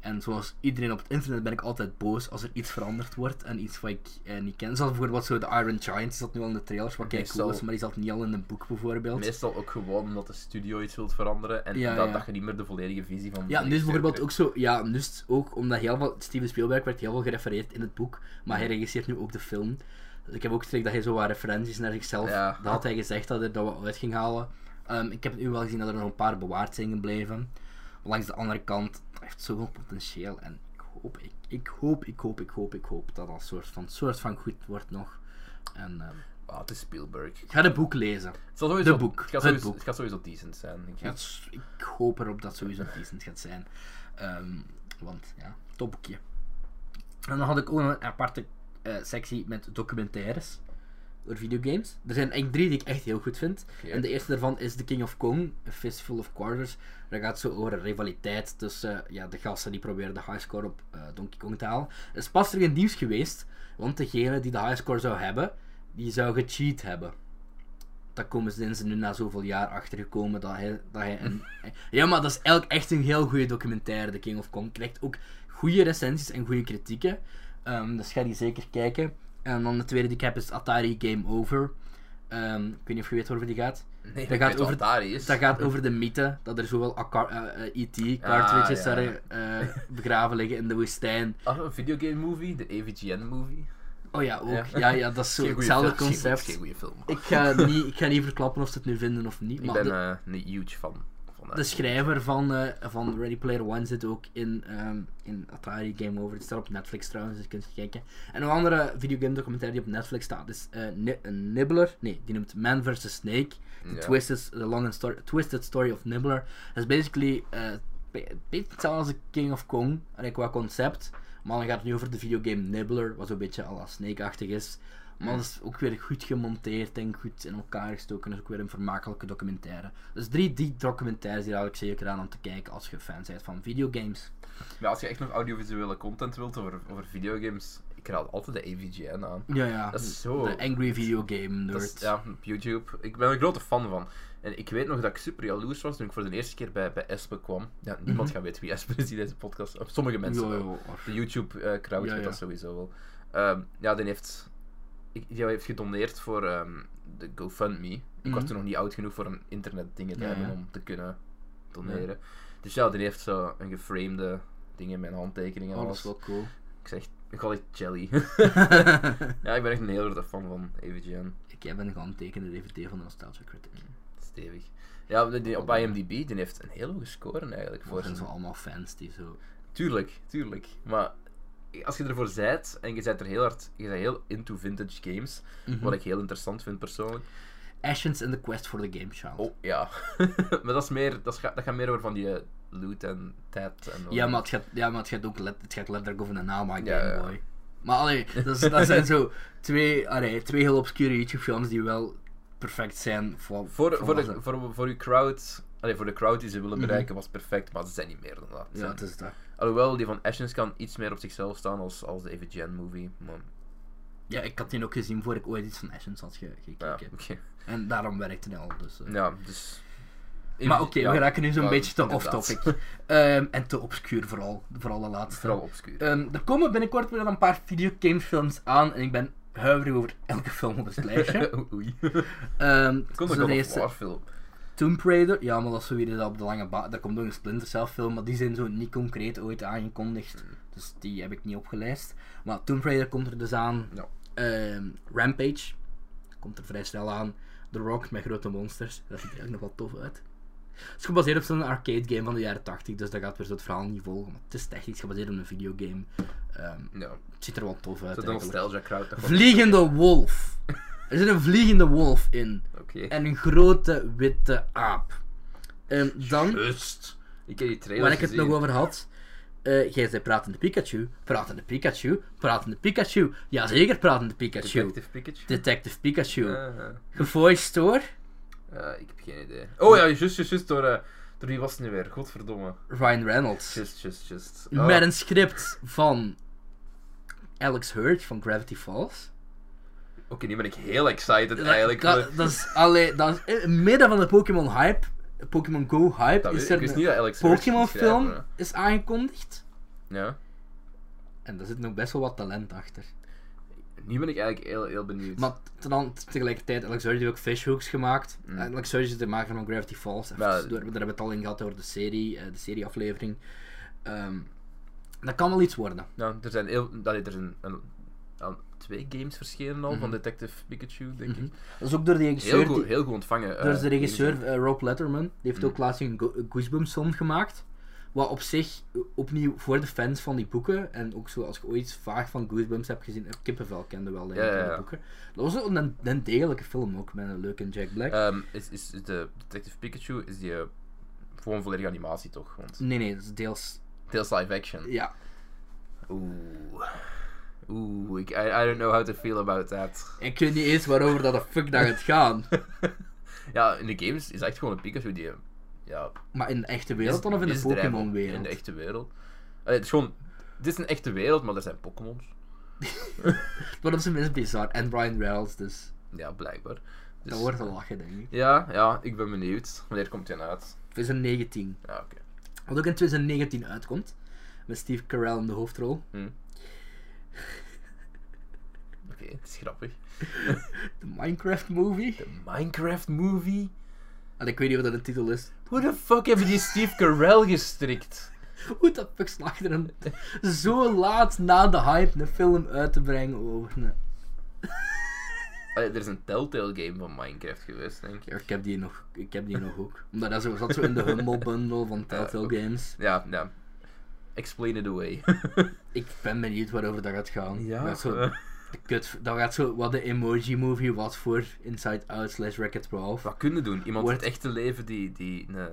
Speaker 1: En zoals iedereen op het internet ben ik altijd boos als er iets veranderd wordt en iets wat ik eh, niet ken. Zoals bijvoorbeeld zo de Iron Giant, is dat nu al in de trailers, wat kijk cool
Speaker 2: Meestal-
Speaker 1: is, maar die zat niet al in een boek bijvoorbeeld.
Speaker 2: Meestal ook gewoon omdat de studio iets wilt veranderen en
Speaker 1: Ja,
Speaker 2: dat,
Speaker 1: ja.
Speaker 2: dat je niet meer de volledige visie van
Speaker 1: Ja,
Speaker 2: de
Speaker 1: nu is
Speaker 2: regisseur
Speaker 1: bijvoorbeeld ook zo, ja, nu is het ook omdat heel veel, Steven Spielberg werd heel veel gerefereerd in het boek, maar hij regisseert nu ook de film. Dus ik heb ook het idee dat hij zo wat referenties naar zichzelf,
Speaker 2: Ja.
Speaker 1: dat had hij gezegd dat hij dat wat uit ging halen. Ehm, ik heb nu wel gezien dat er nog een paar bewaard zijn gebleven. Maar langs de andere kant, het heeft zoveel potentieel en ik hoop, ik, ik hoop, ik hoop, ik hoop, ik hoop dat dat soort van, soort van goed wordt nog. En ehm,
Speaker 2: krijgt. Ah, het is Spielberg.
Speaker 1: ik ga het boek lezen.
Speaker 2: Het, zal sowieso,
Speaker 1: De boek.
Speaker 2: het, gaat
Speaker 1: Het
Speaker 2: sowieso,
Speaker 1: boek.
Speaker 2: het gaat sowieso decent zijn. denk ik.
Speaker 1: Ja, het is- ik hoop erop dat het sowieso decent gaat zijn. Ehm, want ja, topboekje. En dan had ik ook nog een aparte eh, sectie met documentaires over videogames. Er zijn eigenlijk drie die ik echt heel goed vind.
Speaker 2: Oké.
Speaker 1: En de eerste daarvan is The King of Kong, A Fistful of Quarters. Daar gaat zo over een rivaliteit tussen eh, ja, de gasten die proberen de highscore op eh, Donkey Kong te halen. Het is pas terug in het nieuws geweest, want degene die de highscore zou hebben, die zou gecheat hebben. Daar komen ze, zijn ze nu na zoveel jaar achter gekomen dat hij, dat hij een... Ja, maar dat is eigenlijk echt een heel goede documentaire, The King of Kong. Krijgt ook goede recensies en goede kritieken. Ehm, dus ga die zeker kijken. En dan de tweede die ik heb is Atari Game Over. Ehm, ik weet niet of je weet waarover die gaat.
Speaker 2: Nee,
Speaker 1: dat
Speaker 2: ik
Speaker 1: gaat
Speaker 2: weet wat
Speaker 1: over-
Speaker 2: daar is.
Speaker 1: Dat gaat over de mythe dat er zowel akka- eh, eh, E.T. cartridges
Speaker 2: Ah, ja.
Speaker 1: daar, eh, begraven liggen in de woestijn.
Speaker 2: Ah, een videogame movie, de AVGN movie.
Speaker 1: Oh ja, ook. Ja,
Speaker 2: Ja.
Speaker 1: ja, dat is zo
Speaker 2: Geen goeie
Speaker 1: hetzelfde
Speaker 2: film. Geen-
Speaker 1: concept.
Speaker 2: Geen goede film.
Speaker 1: Ik ga, niet, ik ga niet verklappen of ze het nu vinden of niet.
Speaker 2: Ik
Speaker 1: Maar
Speaker 2: ben
Speaker 1: de,
Speaker 2: eh, niet huge fan van dat.
Speaker 1: de schrijver van, eh, van Ready Player One zit ook in, ehm, in Atari Game Over. Het staat op Netflix trouwens, dus je kunt het kijken. En een andere videogame documentaire die op Netflix staat is eh, Ni- een Nibbler. Nee, die noemt Man vs. Snake. The,
Speaker 2: Ja.
Speaker 1: Twisted, the long and stor- Twisted Story of Nibbler. Dat is basically eh, be- beetje hetzelfde als King of Kong allee, qua concept. Maar dan gaat het nu over de videogame Nibbler, wat zo'n beetje à la Snake-achtig is. Maar dat is ook weer goed gemonteerd en goed in elkaar gestoken. Dat is ook weer een vermakelijke documentaire. Dus drie die documentaires die raad ik zeker aan om te kijken als je fan bent van videogames.
Speaker 2: Maar als je echt nog audiovisuele content wilt over, over videogames, ik raad altijd de AVGN aan.
Speaker 1: Ja, ja.
Speaker 2: Dat is zo-
Speaker 1: De Angry Video Game
Speaker 2: Oh. Dat
Speaker 1: Nerd.
Speaker 2: is, ja, op YouTube. Ik ben er een grote fan van. En ik weet nog dat ik super jaloers was toen ik voor de eerste keer bij, bij Espe kwam. Ja, niemand
Speaker 1: Mhm.
Speaker 2: gaat weten wie Espe is in deze podcast. Of sommige mensen
Speaker 1: Ja,
Speaker 2: wel.
Speaker 1: ja, of-
Speaker 2: De YouTube-crowd
Speaker 1: Ja,
Speaker 2: weet
Speaker 1: ja.
Speaker 2: dat sowieso wel. Ehm, ja, die heeft, ik, die heeft gedoneerd voor ehm, de GoFundMe. Ik was
Speaker 1: Mhm.
Speaker 2: toen nog niet oud genoeg voor een internetdingen te
Speaker 1: Ja,
Speaker 2: hebben
Speaker 1: ja.
Speaker 2: om te kunnen doneren. Dus ja, die heeft zo een geframede ding in mijn handtekeningen. en
Speaker 1: Oh, dat
Speaker 2: alles.
Speaker 1: is wel cool.
Speaker 2: Ik zeg, ik had echt jelly. ja, ik ben echt een heel grote fan van AVGN.
Speaker 1: ik heb een getekende DVD van de Nostalgia Critic.
Speaker 2: Stevig. Ja, die- die- op IMDb, die heeft een heel hoge score eigenlijk.
Speaker 1: Voor
Speaker 2: Voor
Speaker 1: zijn zo
Speaker 2: zijn...
Speaker 1: allemaal fans die zo.
Speaker 2: Tuurlijk, tuurlijk. Maar als je ervoor zijt en je bent er heel hard, je bent heel into vintage games,
Speaker 1: Mhm.
Speaker 2: wat ik heel interessant vind persoonlijk.
Speaker 1: Ashes and the Quest for the Game Child.
Speaker 2: Oh ja, maar dat, is meer, dat, is, ga- dat gaat meer over van die eh, loot en tijd. En
Speaker 1: Ja, maar het gaat, ja, maar het gaat ook let, het gaat letterlijk over de naam aan
Speaker 2: Ja,
Speaker 1: Game
Speaker 2: ja.
Speaker 1: Boy. Maar allee, dat, is- dat zijn zo twee, allee, twee heel obscure YouTube films die wel perfect zijn voor,
Speaker 2: Voor,
Speaker 1: voor
Speaker 2: voor,
Speaker 1: wat
Speaker 2: de,
Speaker 1: ze-
Speaker 2: voor, voor uw crowd, allee, voor de crowd die ze willen bereiken, was perfect, maar ze zijn niet meer dan dat.
Speaker 1: Ja,
Speaker 2: Ze zijn-
Speaker 1: het is dat.
Speaker 2: Alhoewel, die van Ashens kan iets meer op zichzelf staan als, als de AVGN-movie. Maar
Speaker 1: Ja, ik had die ook gezien voor ik ooit iets van Ashes had ge-
Speaker 2: ja,
Speaker 1: gekeken.
Speaker 2: oké.
Speaker 1: En daarom werkte hij al. Dus, eh.
Speaker 2: Ja, dus...
Speaker 1: Maar oké,
Speaker 2: Ja,
Speaker 1: we raken nu zo'n
Speaker 2: ja,
Speaker 1: beetje te
Speaker 2: inderdaad.
Speaker 1: off-topic. Ehm, en te obscuur vooral, vooral de laatste.
Speaker 2: Vooral obscuur.
Speaker 1: Ehm, er komen binnenkort weer een paar videogamefilms aan en ik ben huiverig over elke film op het lijstje.
Speaker 2: Oei.
Speaker 1: Ehm
Speaker 2: Komt
Speaker 1: zo'n
Speaker 2: ook een
Speaker 1: eerste
Speaker 2: War film.
Speaker 1: Tomb Raider, ja, maar dat is zo weer dat op de lange baan. Daar komt ook een Splinter Cell film, maar die zijn zo niet concreet ooit aangekondigd.
Speaker 2: Mm.
Speaker 1: Dus die heb ik niet opgelijst. Maar Tomb Raider komt er dus aan.
Speaker 2: Ja.
Speaker 1: Ehm, Rampage komt er vrij snel aan. The Rock met grote monsters. Dat ziet er eigenlijk nog wel tof uit. Het is gebaseerd op zo'n arcade game van de jaren 80, dus dat gaat weer zo het verhaal niet volgen. Maar het is technisch gebaseerd op een videogame. Ehm,
Speaker 2: Ja.
Speaker 1: het ziet er wel tof uit.
Speaker 2: Zo de
Speaker 1: eigenlijk.
Speaker 2: nostalgia crowd. nog wel-
Speaker 1: Vliegende wolf. Er zit een vliegende wolf in.
Speaker 2: Oké.
Speaker 1: En een grote witte aap. En dan,
Speaker 2: Rust. Ik heb die trailer
Speaker 1: waar ik het nog over had. eh jij zei pratende Pikachu, pratende Pikachu, pratende Pikachu. Jazeker, pratende Pikachu.
Speaker 2: Detective Pikachu.
Speaker 1: Detective Pikachu.
Speaker 2: Ah, ah.
Speaker 1: Gevoiced door
Speaker 2: Ah, ik heb geen idee. Oh ja, juist, juist, juist. Door, eh, door wie was het nu weer? Godverdomme.
Speaker 1: Ryan Reynolds.
Speaker 2: Just, just, just. Oh.
Speaker 1: Met een script van Alex Hurd van Gravity Falls.
Speaker 2: Oké, nu ben ik heel excited eigenlijk.
Speaker 1: Dat, dat is alleen, dat is in het midden van de Pokémon hype, Pokémon Go hype,
Speaker 2: Dat weet
Speaker 1: is
Speaker 2: ik. dus
Speaker 1: er
Speaker 2: Ik wist
Speaker 1: een-
Speaker 2: niet dat Alex Hirsch
Speaker 1: Pokémon
Speaker 2: ging schrijven,
Speaker 1: film is aangekondigd.
Speaker 2: hè. Ja.
Speaker 1: En daar zit nog best wel wat talent achter.
Speaker 2: Nu ben ik eigenlijk heel, heel benieuwd.
Speaker 1: Maar ten an- tegelijkertijd, Alex Hurd heeft ook fishhooks gemaakt.
Speaker 2: Mm.
Speaker 1: En Alex Hurd is de maker van Gravity Falls. Even
Speaker 2: Ja.
Speaker 1: tussendoor, want daar hebben we het al in gehad over de serie, eh, de serieaflevering. Ehm, dat kan wel iets worden.
Speaker 2: Nou, er zijn heel... Dat, er zijn een, een- twee games verschenen al van
Speaker 1: Mhm.
Speaker 2: Detective Pikachu, denk ik.
Speaker 1: Dat is ook door de regisseur.
Speaker 2: Heel goed,
Speaker 1: die-
Speaker 2: heel goed ontvangen. eh, Mm.
Speaker 1: door de regisseur
Speaker 2: deze.
Speaker 1: eh, Rob Letterman. Die heeft ook laatst een Go- Goosebumps film gemaakt. Wat op zich eh, opnieuw voor de fans van die boeken. En ook zo als je ooit vaag van Goosebumps hebt gezien. eh, Kippenvel kende wel denk ik,
Speaker 2: Ja, ja,
Speaker 1: van die
Speaker 2: ja.
Speaker 1: boeken. Dat was wel een, een degelijke film ook met een leuke Jack Black.
Speaker 2: Ehm, is, is de Detective Pikachu is die eh, gewoon volledige animatie toch? Want
Speaker 1: nee, nee, dat is deels.
Speaker 2: Tales live action.
Speaker 1: Ja.
Speaker 2: Oeh. Oeh, ik, I, I don't know how to feel about that.
Speaker 1: Ik weet niet eens waarover dat de fuck dat gaat gaan.
Speaker 2: Ja, in de games is echt gewoon een Pikachu die eh, ja,
Speaker 1: Maar in de echte wereld dan of in de
Speaker 2: misdrijven In
Speaker 1: Pokémon-wereld?
Speaker 2: de echte wereld. Allee, het is gewoon... Het is een echte wereld, maar er zijn Pokémons.
Speaker 1: Maar op zijn minst bizar. En Brian Reynolds, dus.
Speaker 2: Ja, blijkbaar. Dus-
Speaker 1: Dat wordt te lachen, denk ik.
Speaker 2: Ja, ja, ik ben benieuwd. Wanneer komt hij uit?
Speaker 1: 2019.
Speaker 2: Ja, oké.
Speaker 1: Wat ook in 2019 uitkomt. Met Steve Carell in de hoofdrol.
Speaker 2: Hm. Oké, het is grappig.
Speaker 1: De Minecraft-movie.
Speaker 2: De Minecraft movie?
Speaker 1: En ik weet niet wat dat de titel is.
Speaker 2: Hoe de fuck hebben die Steve Carell gestrikt?
Speaker 1: Hoe de fuck slaagt er een... Zo laat na de hype een film uit te brengen over een...
Speaker 2: Allee, er is een Telltale game van Minecraft geweest, denk ik.
Speaker 1: Ja, ik heb die nog, ik heb die nog ook. Omdat dat zo, zat zo in de Humble Bundle van Telltale Games.
Speaker 2: Ja, ja. Explain it away.
Speaker 1: Ik ben benieuwd waarover dat gaat gaan. Dat is zo
Speaker 2: eh,
Speaker 1: de kut, dat gaat zo wat de emoji movie was voor Inside Out slash Racket 12.
Speaker 2: wat kunnen doen? Iemand
Speaker 1: Wordt-
Speaker 2: uit het echte leven die, die, een-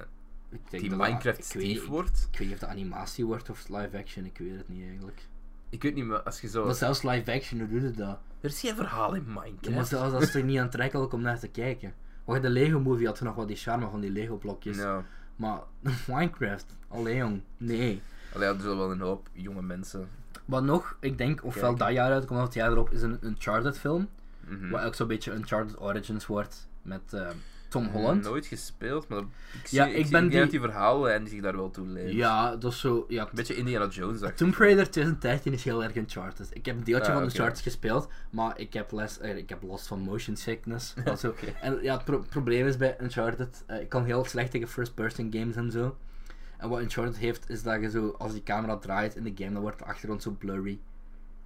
Speaker 1: Ik denk
Speaker 2: die
Speaker 1: dat dat-
Speaker 2: Minecraft
Speaker 1: ik weet,
Speaker 2: Steve
Speaker 1: ik,
Speaker 2: wordt?
Speaker 1: ik weet niet of de animatie wordt of live action, ik weet het niet eigenlijk.
Speaker 2: Ik weet niet, maar als je zo...
Speaker 1: Maar zelfs live action, hoe doet het dat?
Speaker 2: Er is geen verhaal in Minecraft.
Speaker 1: Ja, maar zelfs dat is toch niet aantrekkelijk om naar te kijken. Want de Lego movie had toen nog wel die charme van die Lego blokjes.
Speaker 2: Nou,
Speaker 1: Maar Minecraft, alleen jong, nee.
Speaker 2: allee, er zullen wel een hoop jonge mensen...
Speaker 1: Wat nog, ik denk ofwel
Speaker 2: Kijk.
Speaker 1: dat jaar uitkomt of het jaar erop, is een Uncharted film.
Speaker 2: Mhm.
Speaker 1: Wat eh, ook zo'n beetje Uncharted Origins wordt met eh, Tom Holland.
Speaker 2: Nooit gespeeld, maar ik zie,
Speaker 1: Ja,
Speaker 2: ik
Speaker 1: ik
Speaker 2: zie
Speaker 1: ben
Speaker 2: ik denk dat
Speaker 1: die-
Speaker 2: die verhalen en die zich daar wel toe leeft.
Speaker 1: Ja, dat is zo. Ja,
Speaker 2: Een beetje Indiana Jones, dacht
Speaker 1: Tomb Raider 2013 is heel erg Uncharted. Ik heb een deeltje
Speaker 2: Ah,
Speaker 1: van
Speaker 2: oké.
Speaker 1: Uncharted gespeeld, maar ik heb, les, eh, ik heb last van motion sickness. Dat zo. En ja, het pro- probleem is bij Uncharted, eh, ik kan heel slecht tegen first-person games en zo. En wat Uncharted heeft, is dat je zo, als die camera draait in de game, dan wordt de achtergrond zo blurry.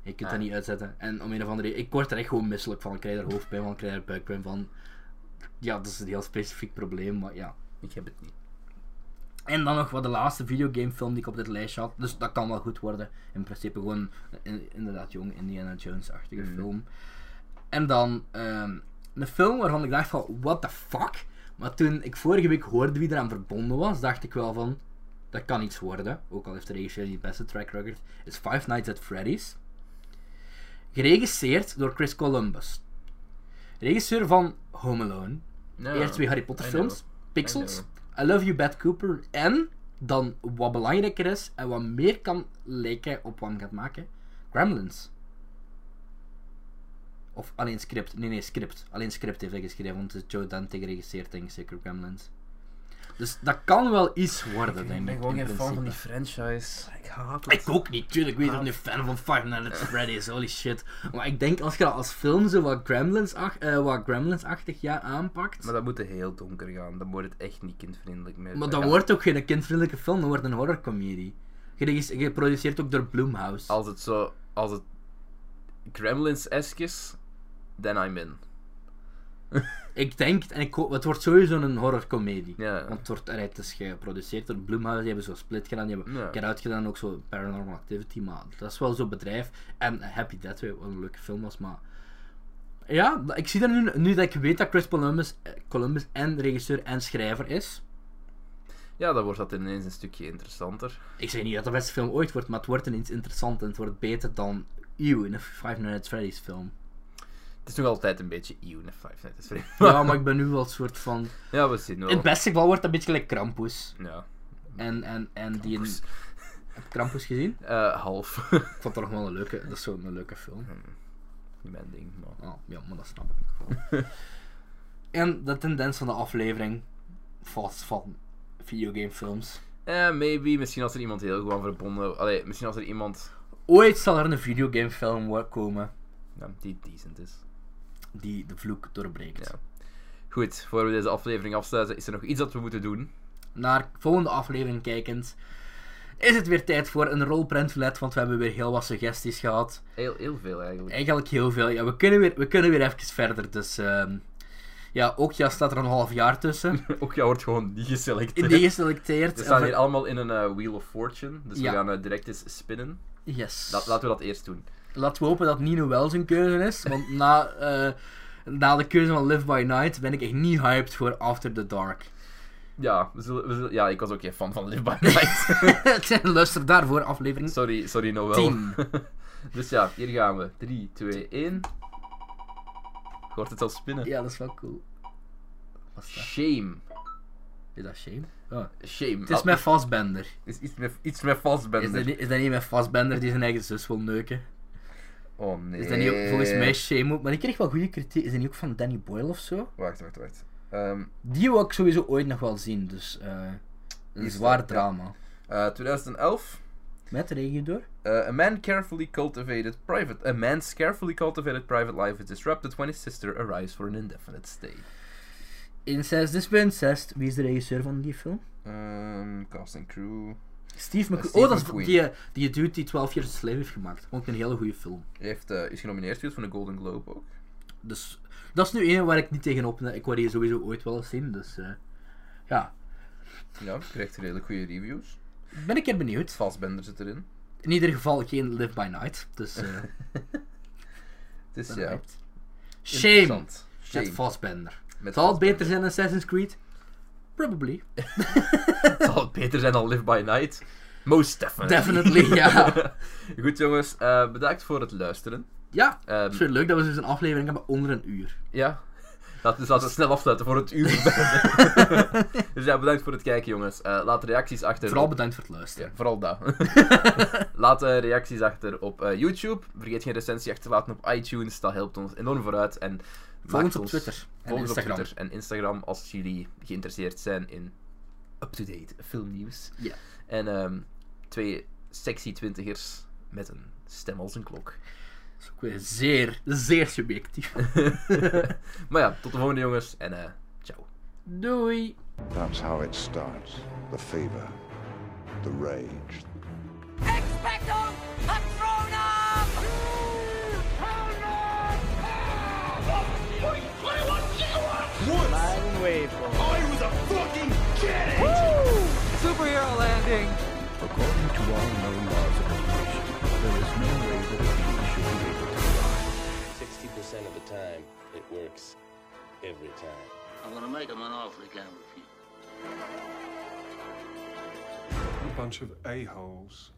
Speaker 1: Je kunt dat
Speaker 2: Ah.
Speaker 1: niet uitzetten. En om een of andere reden, ik word er echt gewoon misselijk van. Ik krijg er hoofdpijn van, ik krijg er buikpijn van. Ja, dat is een heel specifiek probleem, maar ja.
Speaker 2: Ik heb het niet.
Speaker 1: En dan nog wat de laatste videogamefilm die ik op dit lijstje had. Dus dat kan wel goed worden. In principe gewoon in- inderdaad jong Indiana Jones-achtige
Speaker 2: Mhm.
Speaker 1: film. En dan ehm, een film waarvan ik dacht van, what the fuck? Maar toen ik vorige week hoorde wie eraan verbonden was, dacht ik wel van, dat kan iets worden. Ook al heeft de regisseur niet het beste track record. Is Five Nights at Freddy's. Geregisseerd door Chris Columbus. Regisseur van Home Alone.
Speaker 2: Ja.
Speaker 1: Eerst twee Harry Potter
Speaker 2: I
Speaker 1: films.
Speaker 2: know.
Speaker 1: Pixels.
Speaker 2: I
Speaker 1: I Love You, Bad Cooper. En, dan wat belangrijker is en wat meer kan lijken op wat hem gaat maken, Gremlins. Of alleen script. Nee, nee, script. Alleen script heeft hij geschreven, want het is Joe Dante geregisseerd, denk ik zeker, Gremlins. Dus dat kan wel iets worden, denk ik. in principe.
Speaker 2: franchise. Ik haat
Speaker 1: Ik ook niet, tuurlijk. Ik weet ik ben een fan van Five Nights at Freddy's, holy shit. Maar ik denk als je dat als film zo wat Gremlins-ach- eh, wat Gremlins-achtig ja, aanpakt.
Speaker 2: Maar dat moet heel donker gaan. Dan wordt het echt niet kindvriendelijk meer.
Speaker 1: Maar dat
Speaker 2: Ja,
Speaker 1: wordt ook geen kindvriendelijke film, dat wordt een horrorcomedie. Geregis- Geproduceerd ook door Blumhouse.
Speaker 2: Als het zo... Als het Gremlins-esk is, then I'm in.
Speaker 1: Ik denk, het en ik hoop, het wordt sowieso een horrorcomedie.
Speaker 2: Ja.
Speaker 1: Want het, wordt, allee, het is geproduceerd door Blumhouse, die hebben zo Split gedaan, die hebben
Speaker 2: Ja.
Speaker 1: Get Out gedaan, ook zo Paranormal Activity, maar dat is wel zo'n bedrijf. En Happy Death, wat een leuke film was, maar... Ja, dat- ik zie dat nu, nu dat ik weet dat Chris Columbus, eh, Columbus en regisseur en schrijver is.
Speaker 2: Ja, dan wordt dat ineens een stukje interessanter.
Speaker 1: Ik zeg niet dat de beste film ooit wordt, maar het wordt ineens interessant en het wordt beter dan... Ew, in een Five Nights at Freddy's film.
Speaker 2: Het is nog altijd een beetje eeuw in Five Nights at Freddy's.
Speaker 1: Ja, maar ik ben nu wel een soort van.
Speaker 2: Ja, we zien
Speaker 1: In het
Speaker 2: wel.
Speaker 1: beste geval wordt dat een beetje gelijk Krampus.
Speaker 2: Ja.
Speaker 1: En, en, en die.
Speaker 2: Oeps.
Speaker 1: Heb je Krampus gezien?
Speaker 2: Eh, half.
Speaker 1: Ik vond dat nog wel een leuke. Dat is zo'n een leuke film.
Speaker 2: niet mijn ding, maar...
Speaker 1: Oh, ja, maar dat snap ik nog wel. en de tendens van de aflevering vast van videogamefilms.
Speaker 2: Eh, maybe. Misschien als er iemand heel goed aan verbonden... Allee, misschien als er iemand
Speaker 1: Ooit zal er een videogamefilm wo- komen
Speaker 2: ja, die decent is.
Speaker 1: die de vloek doorbreekt.
Speaker 2: Ja. Goed, voor we deze aflevering afsluiten, is er nog iets dat we moeten doen.
Speaker 1: Naar volgende aflevering kijkend. Is het weer tijd voor een rolprintlet, want we hebben weer heel wat suggesties gehad.
Speaker 2: Heel, heel veel eigenlijk.
Speaker 1: Eigenlijk heel veel. Ja, we kunnen weer, we kunnen weer even verder. Dus ehm, ja, ook ja staat er een half jaar tussen.
Speaker 2: Ook jou wordt gewoon niet geselecteerd.
Speaker 1: In die geselecteerd.
Speaker 2: We staan hier allemaal in een eh, Wheel of Fortune, dus
Speaker 1: Ja.
Speaker 2: we gaan eh, direct eens spinnen.
Speaker 1: Yes.
Speaker 2: La- laten we dat eerst doen.
Speaker 1: Laten we hopen dat Nino wel zijn keuze is. Want na, eh, na de keuze van Live by Night ben ik echt niet hyped voor After the Dark.
Speaker 2: Ja, we zullen, we zullen- ja ik was ook geen fan van Live by Night.
Speaker 1: Luister daarvoor aflevering
Speaker 2: sorry, sorry Noël.
Speaker 1: 10.
Speaker 2: Dus ja, hier gaan we. 3, 2, 1. Hoort het al spinnen?
Speaker 1: Ja, dat is wel cool. Wat is dat?
Speaker 2: Shame.
Speaker 1: Is dat shame? Oh.
Speaker 2: Shame.
Speaker 1: Het is
Speaker 2: Ah,
Speaker 1: met Fassbender.
Speaker 2: is iets met, iets met
Speaker 1: Is dat,
Speaker 2: vastbenden.
Speaker 1: niet- is dat niet met Fassbender die zijn eigen zus wil neuken?
Speaker 2: Oh nee.
Speaker 1: Is dat niet ook volgens mij shame ook? Maar die kreeg wel goede kritiek. Is dat niet ook van Danny Boyle of zo?
Speaker 2: Wacht, wacht, wacht. Ehm,
Speaker 1: Die wil ik sowieso ooit nog wel zien, dus eh een
Speaker 2: Is
Speaker 1: zwaar
Speaker 2: dat-
Speaker 1: drama.
Speaker 2: eh, 2011.
Speaker 1: Met regio door?
Speaker 2: Uh, a man carefully cultivated private a man's carefully cultivated private life is disrupted when his sister arrives for an indefinite stay.
Speaker 1: Incest is bij Incest. Wie is de regisseur van die film?
Speaker 2: Um, Ehm, cast and crew.
Speaker 1: Steve
Speaker 2: Eh,
Speaker 1: McQueen.
Speaker 2: Steve
Speaker 1: oh, dat is
Speaker 2: McQueen.
Speaker 1: die, die dude die 12 jaar Slave heeft gemaakt. Vond ik een hele goede film.
Speaker 2: Hij heeft, eh, is genomineerd geweest voor een Golden Globe ook.
Speaker 1: Dus dat is nu één waar ik niet tegenop. Ik wou die sowieso ooit wel eens zien. Dus eh, ja,
Speaker 2: Ja, krijgt redelijk goede reviews.
Speaker 1: ben ik er benieuwd.
Speaker 2: Fassbender zit erin.
Speaker 1: In ieder geval geen Live by Night. Dus eh
Speaker 2: Het is
Speaker 1: ben
Speaker 2: ja,
Speaker 1: hyped. Shame.
Speaker 2: interessant.
Speaker 1: Met
Speaker 2: Shame.
Speaker 1: Fassbender.
Speaker 2: Met
Speaker 1: Zal het
Speaker 2: Fassbender.
Speaker 1: beter zijn dan Assassin's Creed? Probably.
Speaker 2: Zal het beter zijn dan Live by Night? Most definitely.
Speaker 1: Definitely, ja.
Speaker 2: Goed jongens, eh, bedankt voor het luisteren.
Speaker 1: Ja,
Speaker 2: Ehm,
Speaker 1: het is weer leuk dat we dus een aflevering hebben onder een uur.
Speaker 2: ja. Laten we laten we snel afsluiten voor het uur. dus ja, bedankt voor het kijken jongens. Eh, laat reacties achter.
Speaker 1: Vooral
Speaker 2: op-
Speaker 1: bedankt voor het
Speaker 2: Ja,
Speaker 1: luisteren.
Speaker 2: vooral dat. laat eh, reacties achter op eh, YouTube. Vergeet geen recensie achter te laten op iTunes. Dat helpt ons enorm vooruit. En
Speaker 1: Volg
Speaker 2: maakt
Speaker 1: ons op
Speaker 2: ons-
Speaker 1: Twitter en
Speaker 2: Volg ons op
Speaker 1: Instagram.
Speaker 2: Twitter en Instagram als jullie geïnteresseerd zijn in up-to-date filmnieuws.
Speaker 1: Ja.
Speaker 2: En ehm, twee sexy twintigers met een stem als een klok.
Speaker 1: Dat is ook weer zeer, zeer subjectief.
Speaker 2: maar ja, tot de volgende jongens en eh, ciao.
Speaker 1: Doei!
Speaker 3: That's how it starts. The fever, the rage,
Speaker 4: Expecto Patronum!
Speaker 5: According to all known laws of evolution, there is no way that a bee should be able to fly.
Speaker 6: 60% of the time, it works every time.
Speaker 7: I'm gonna make him an offer he can't refuse.
Speaker 8: A bunch of a-holes.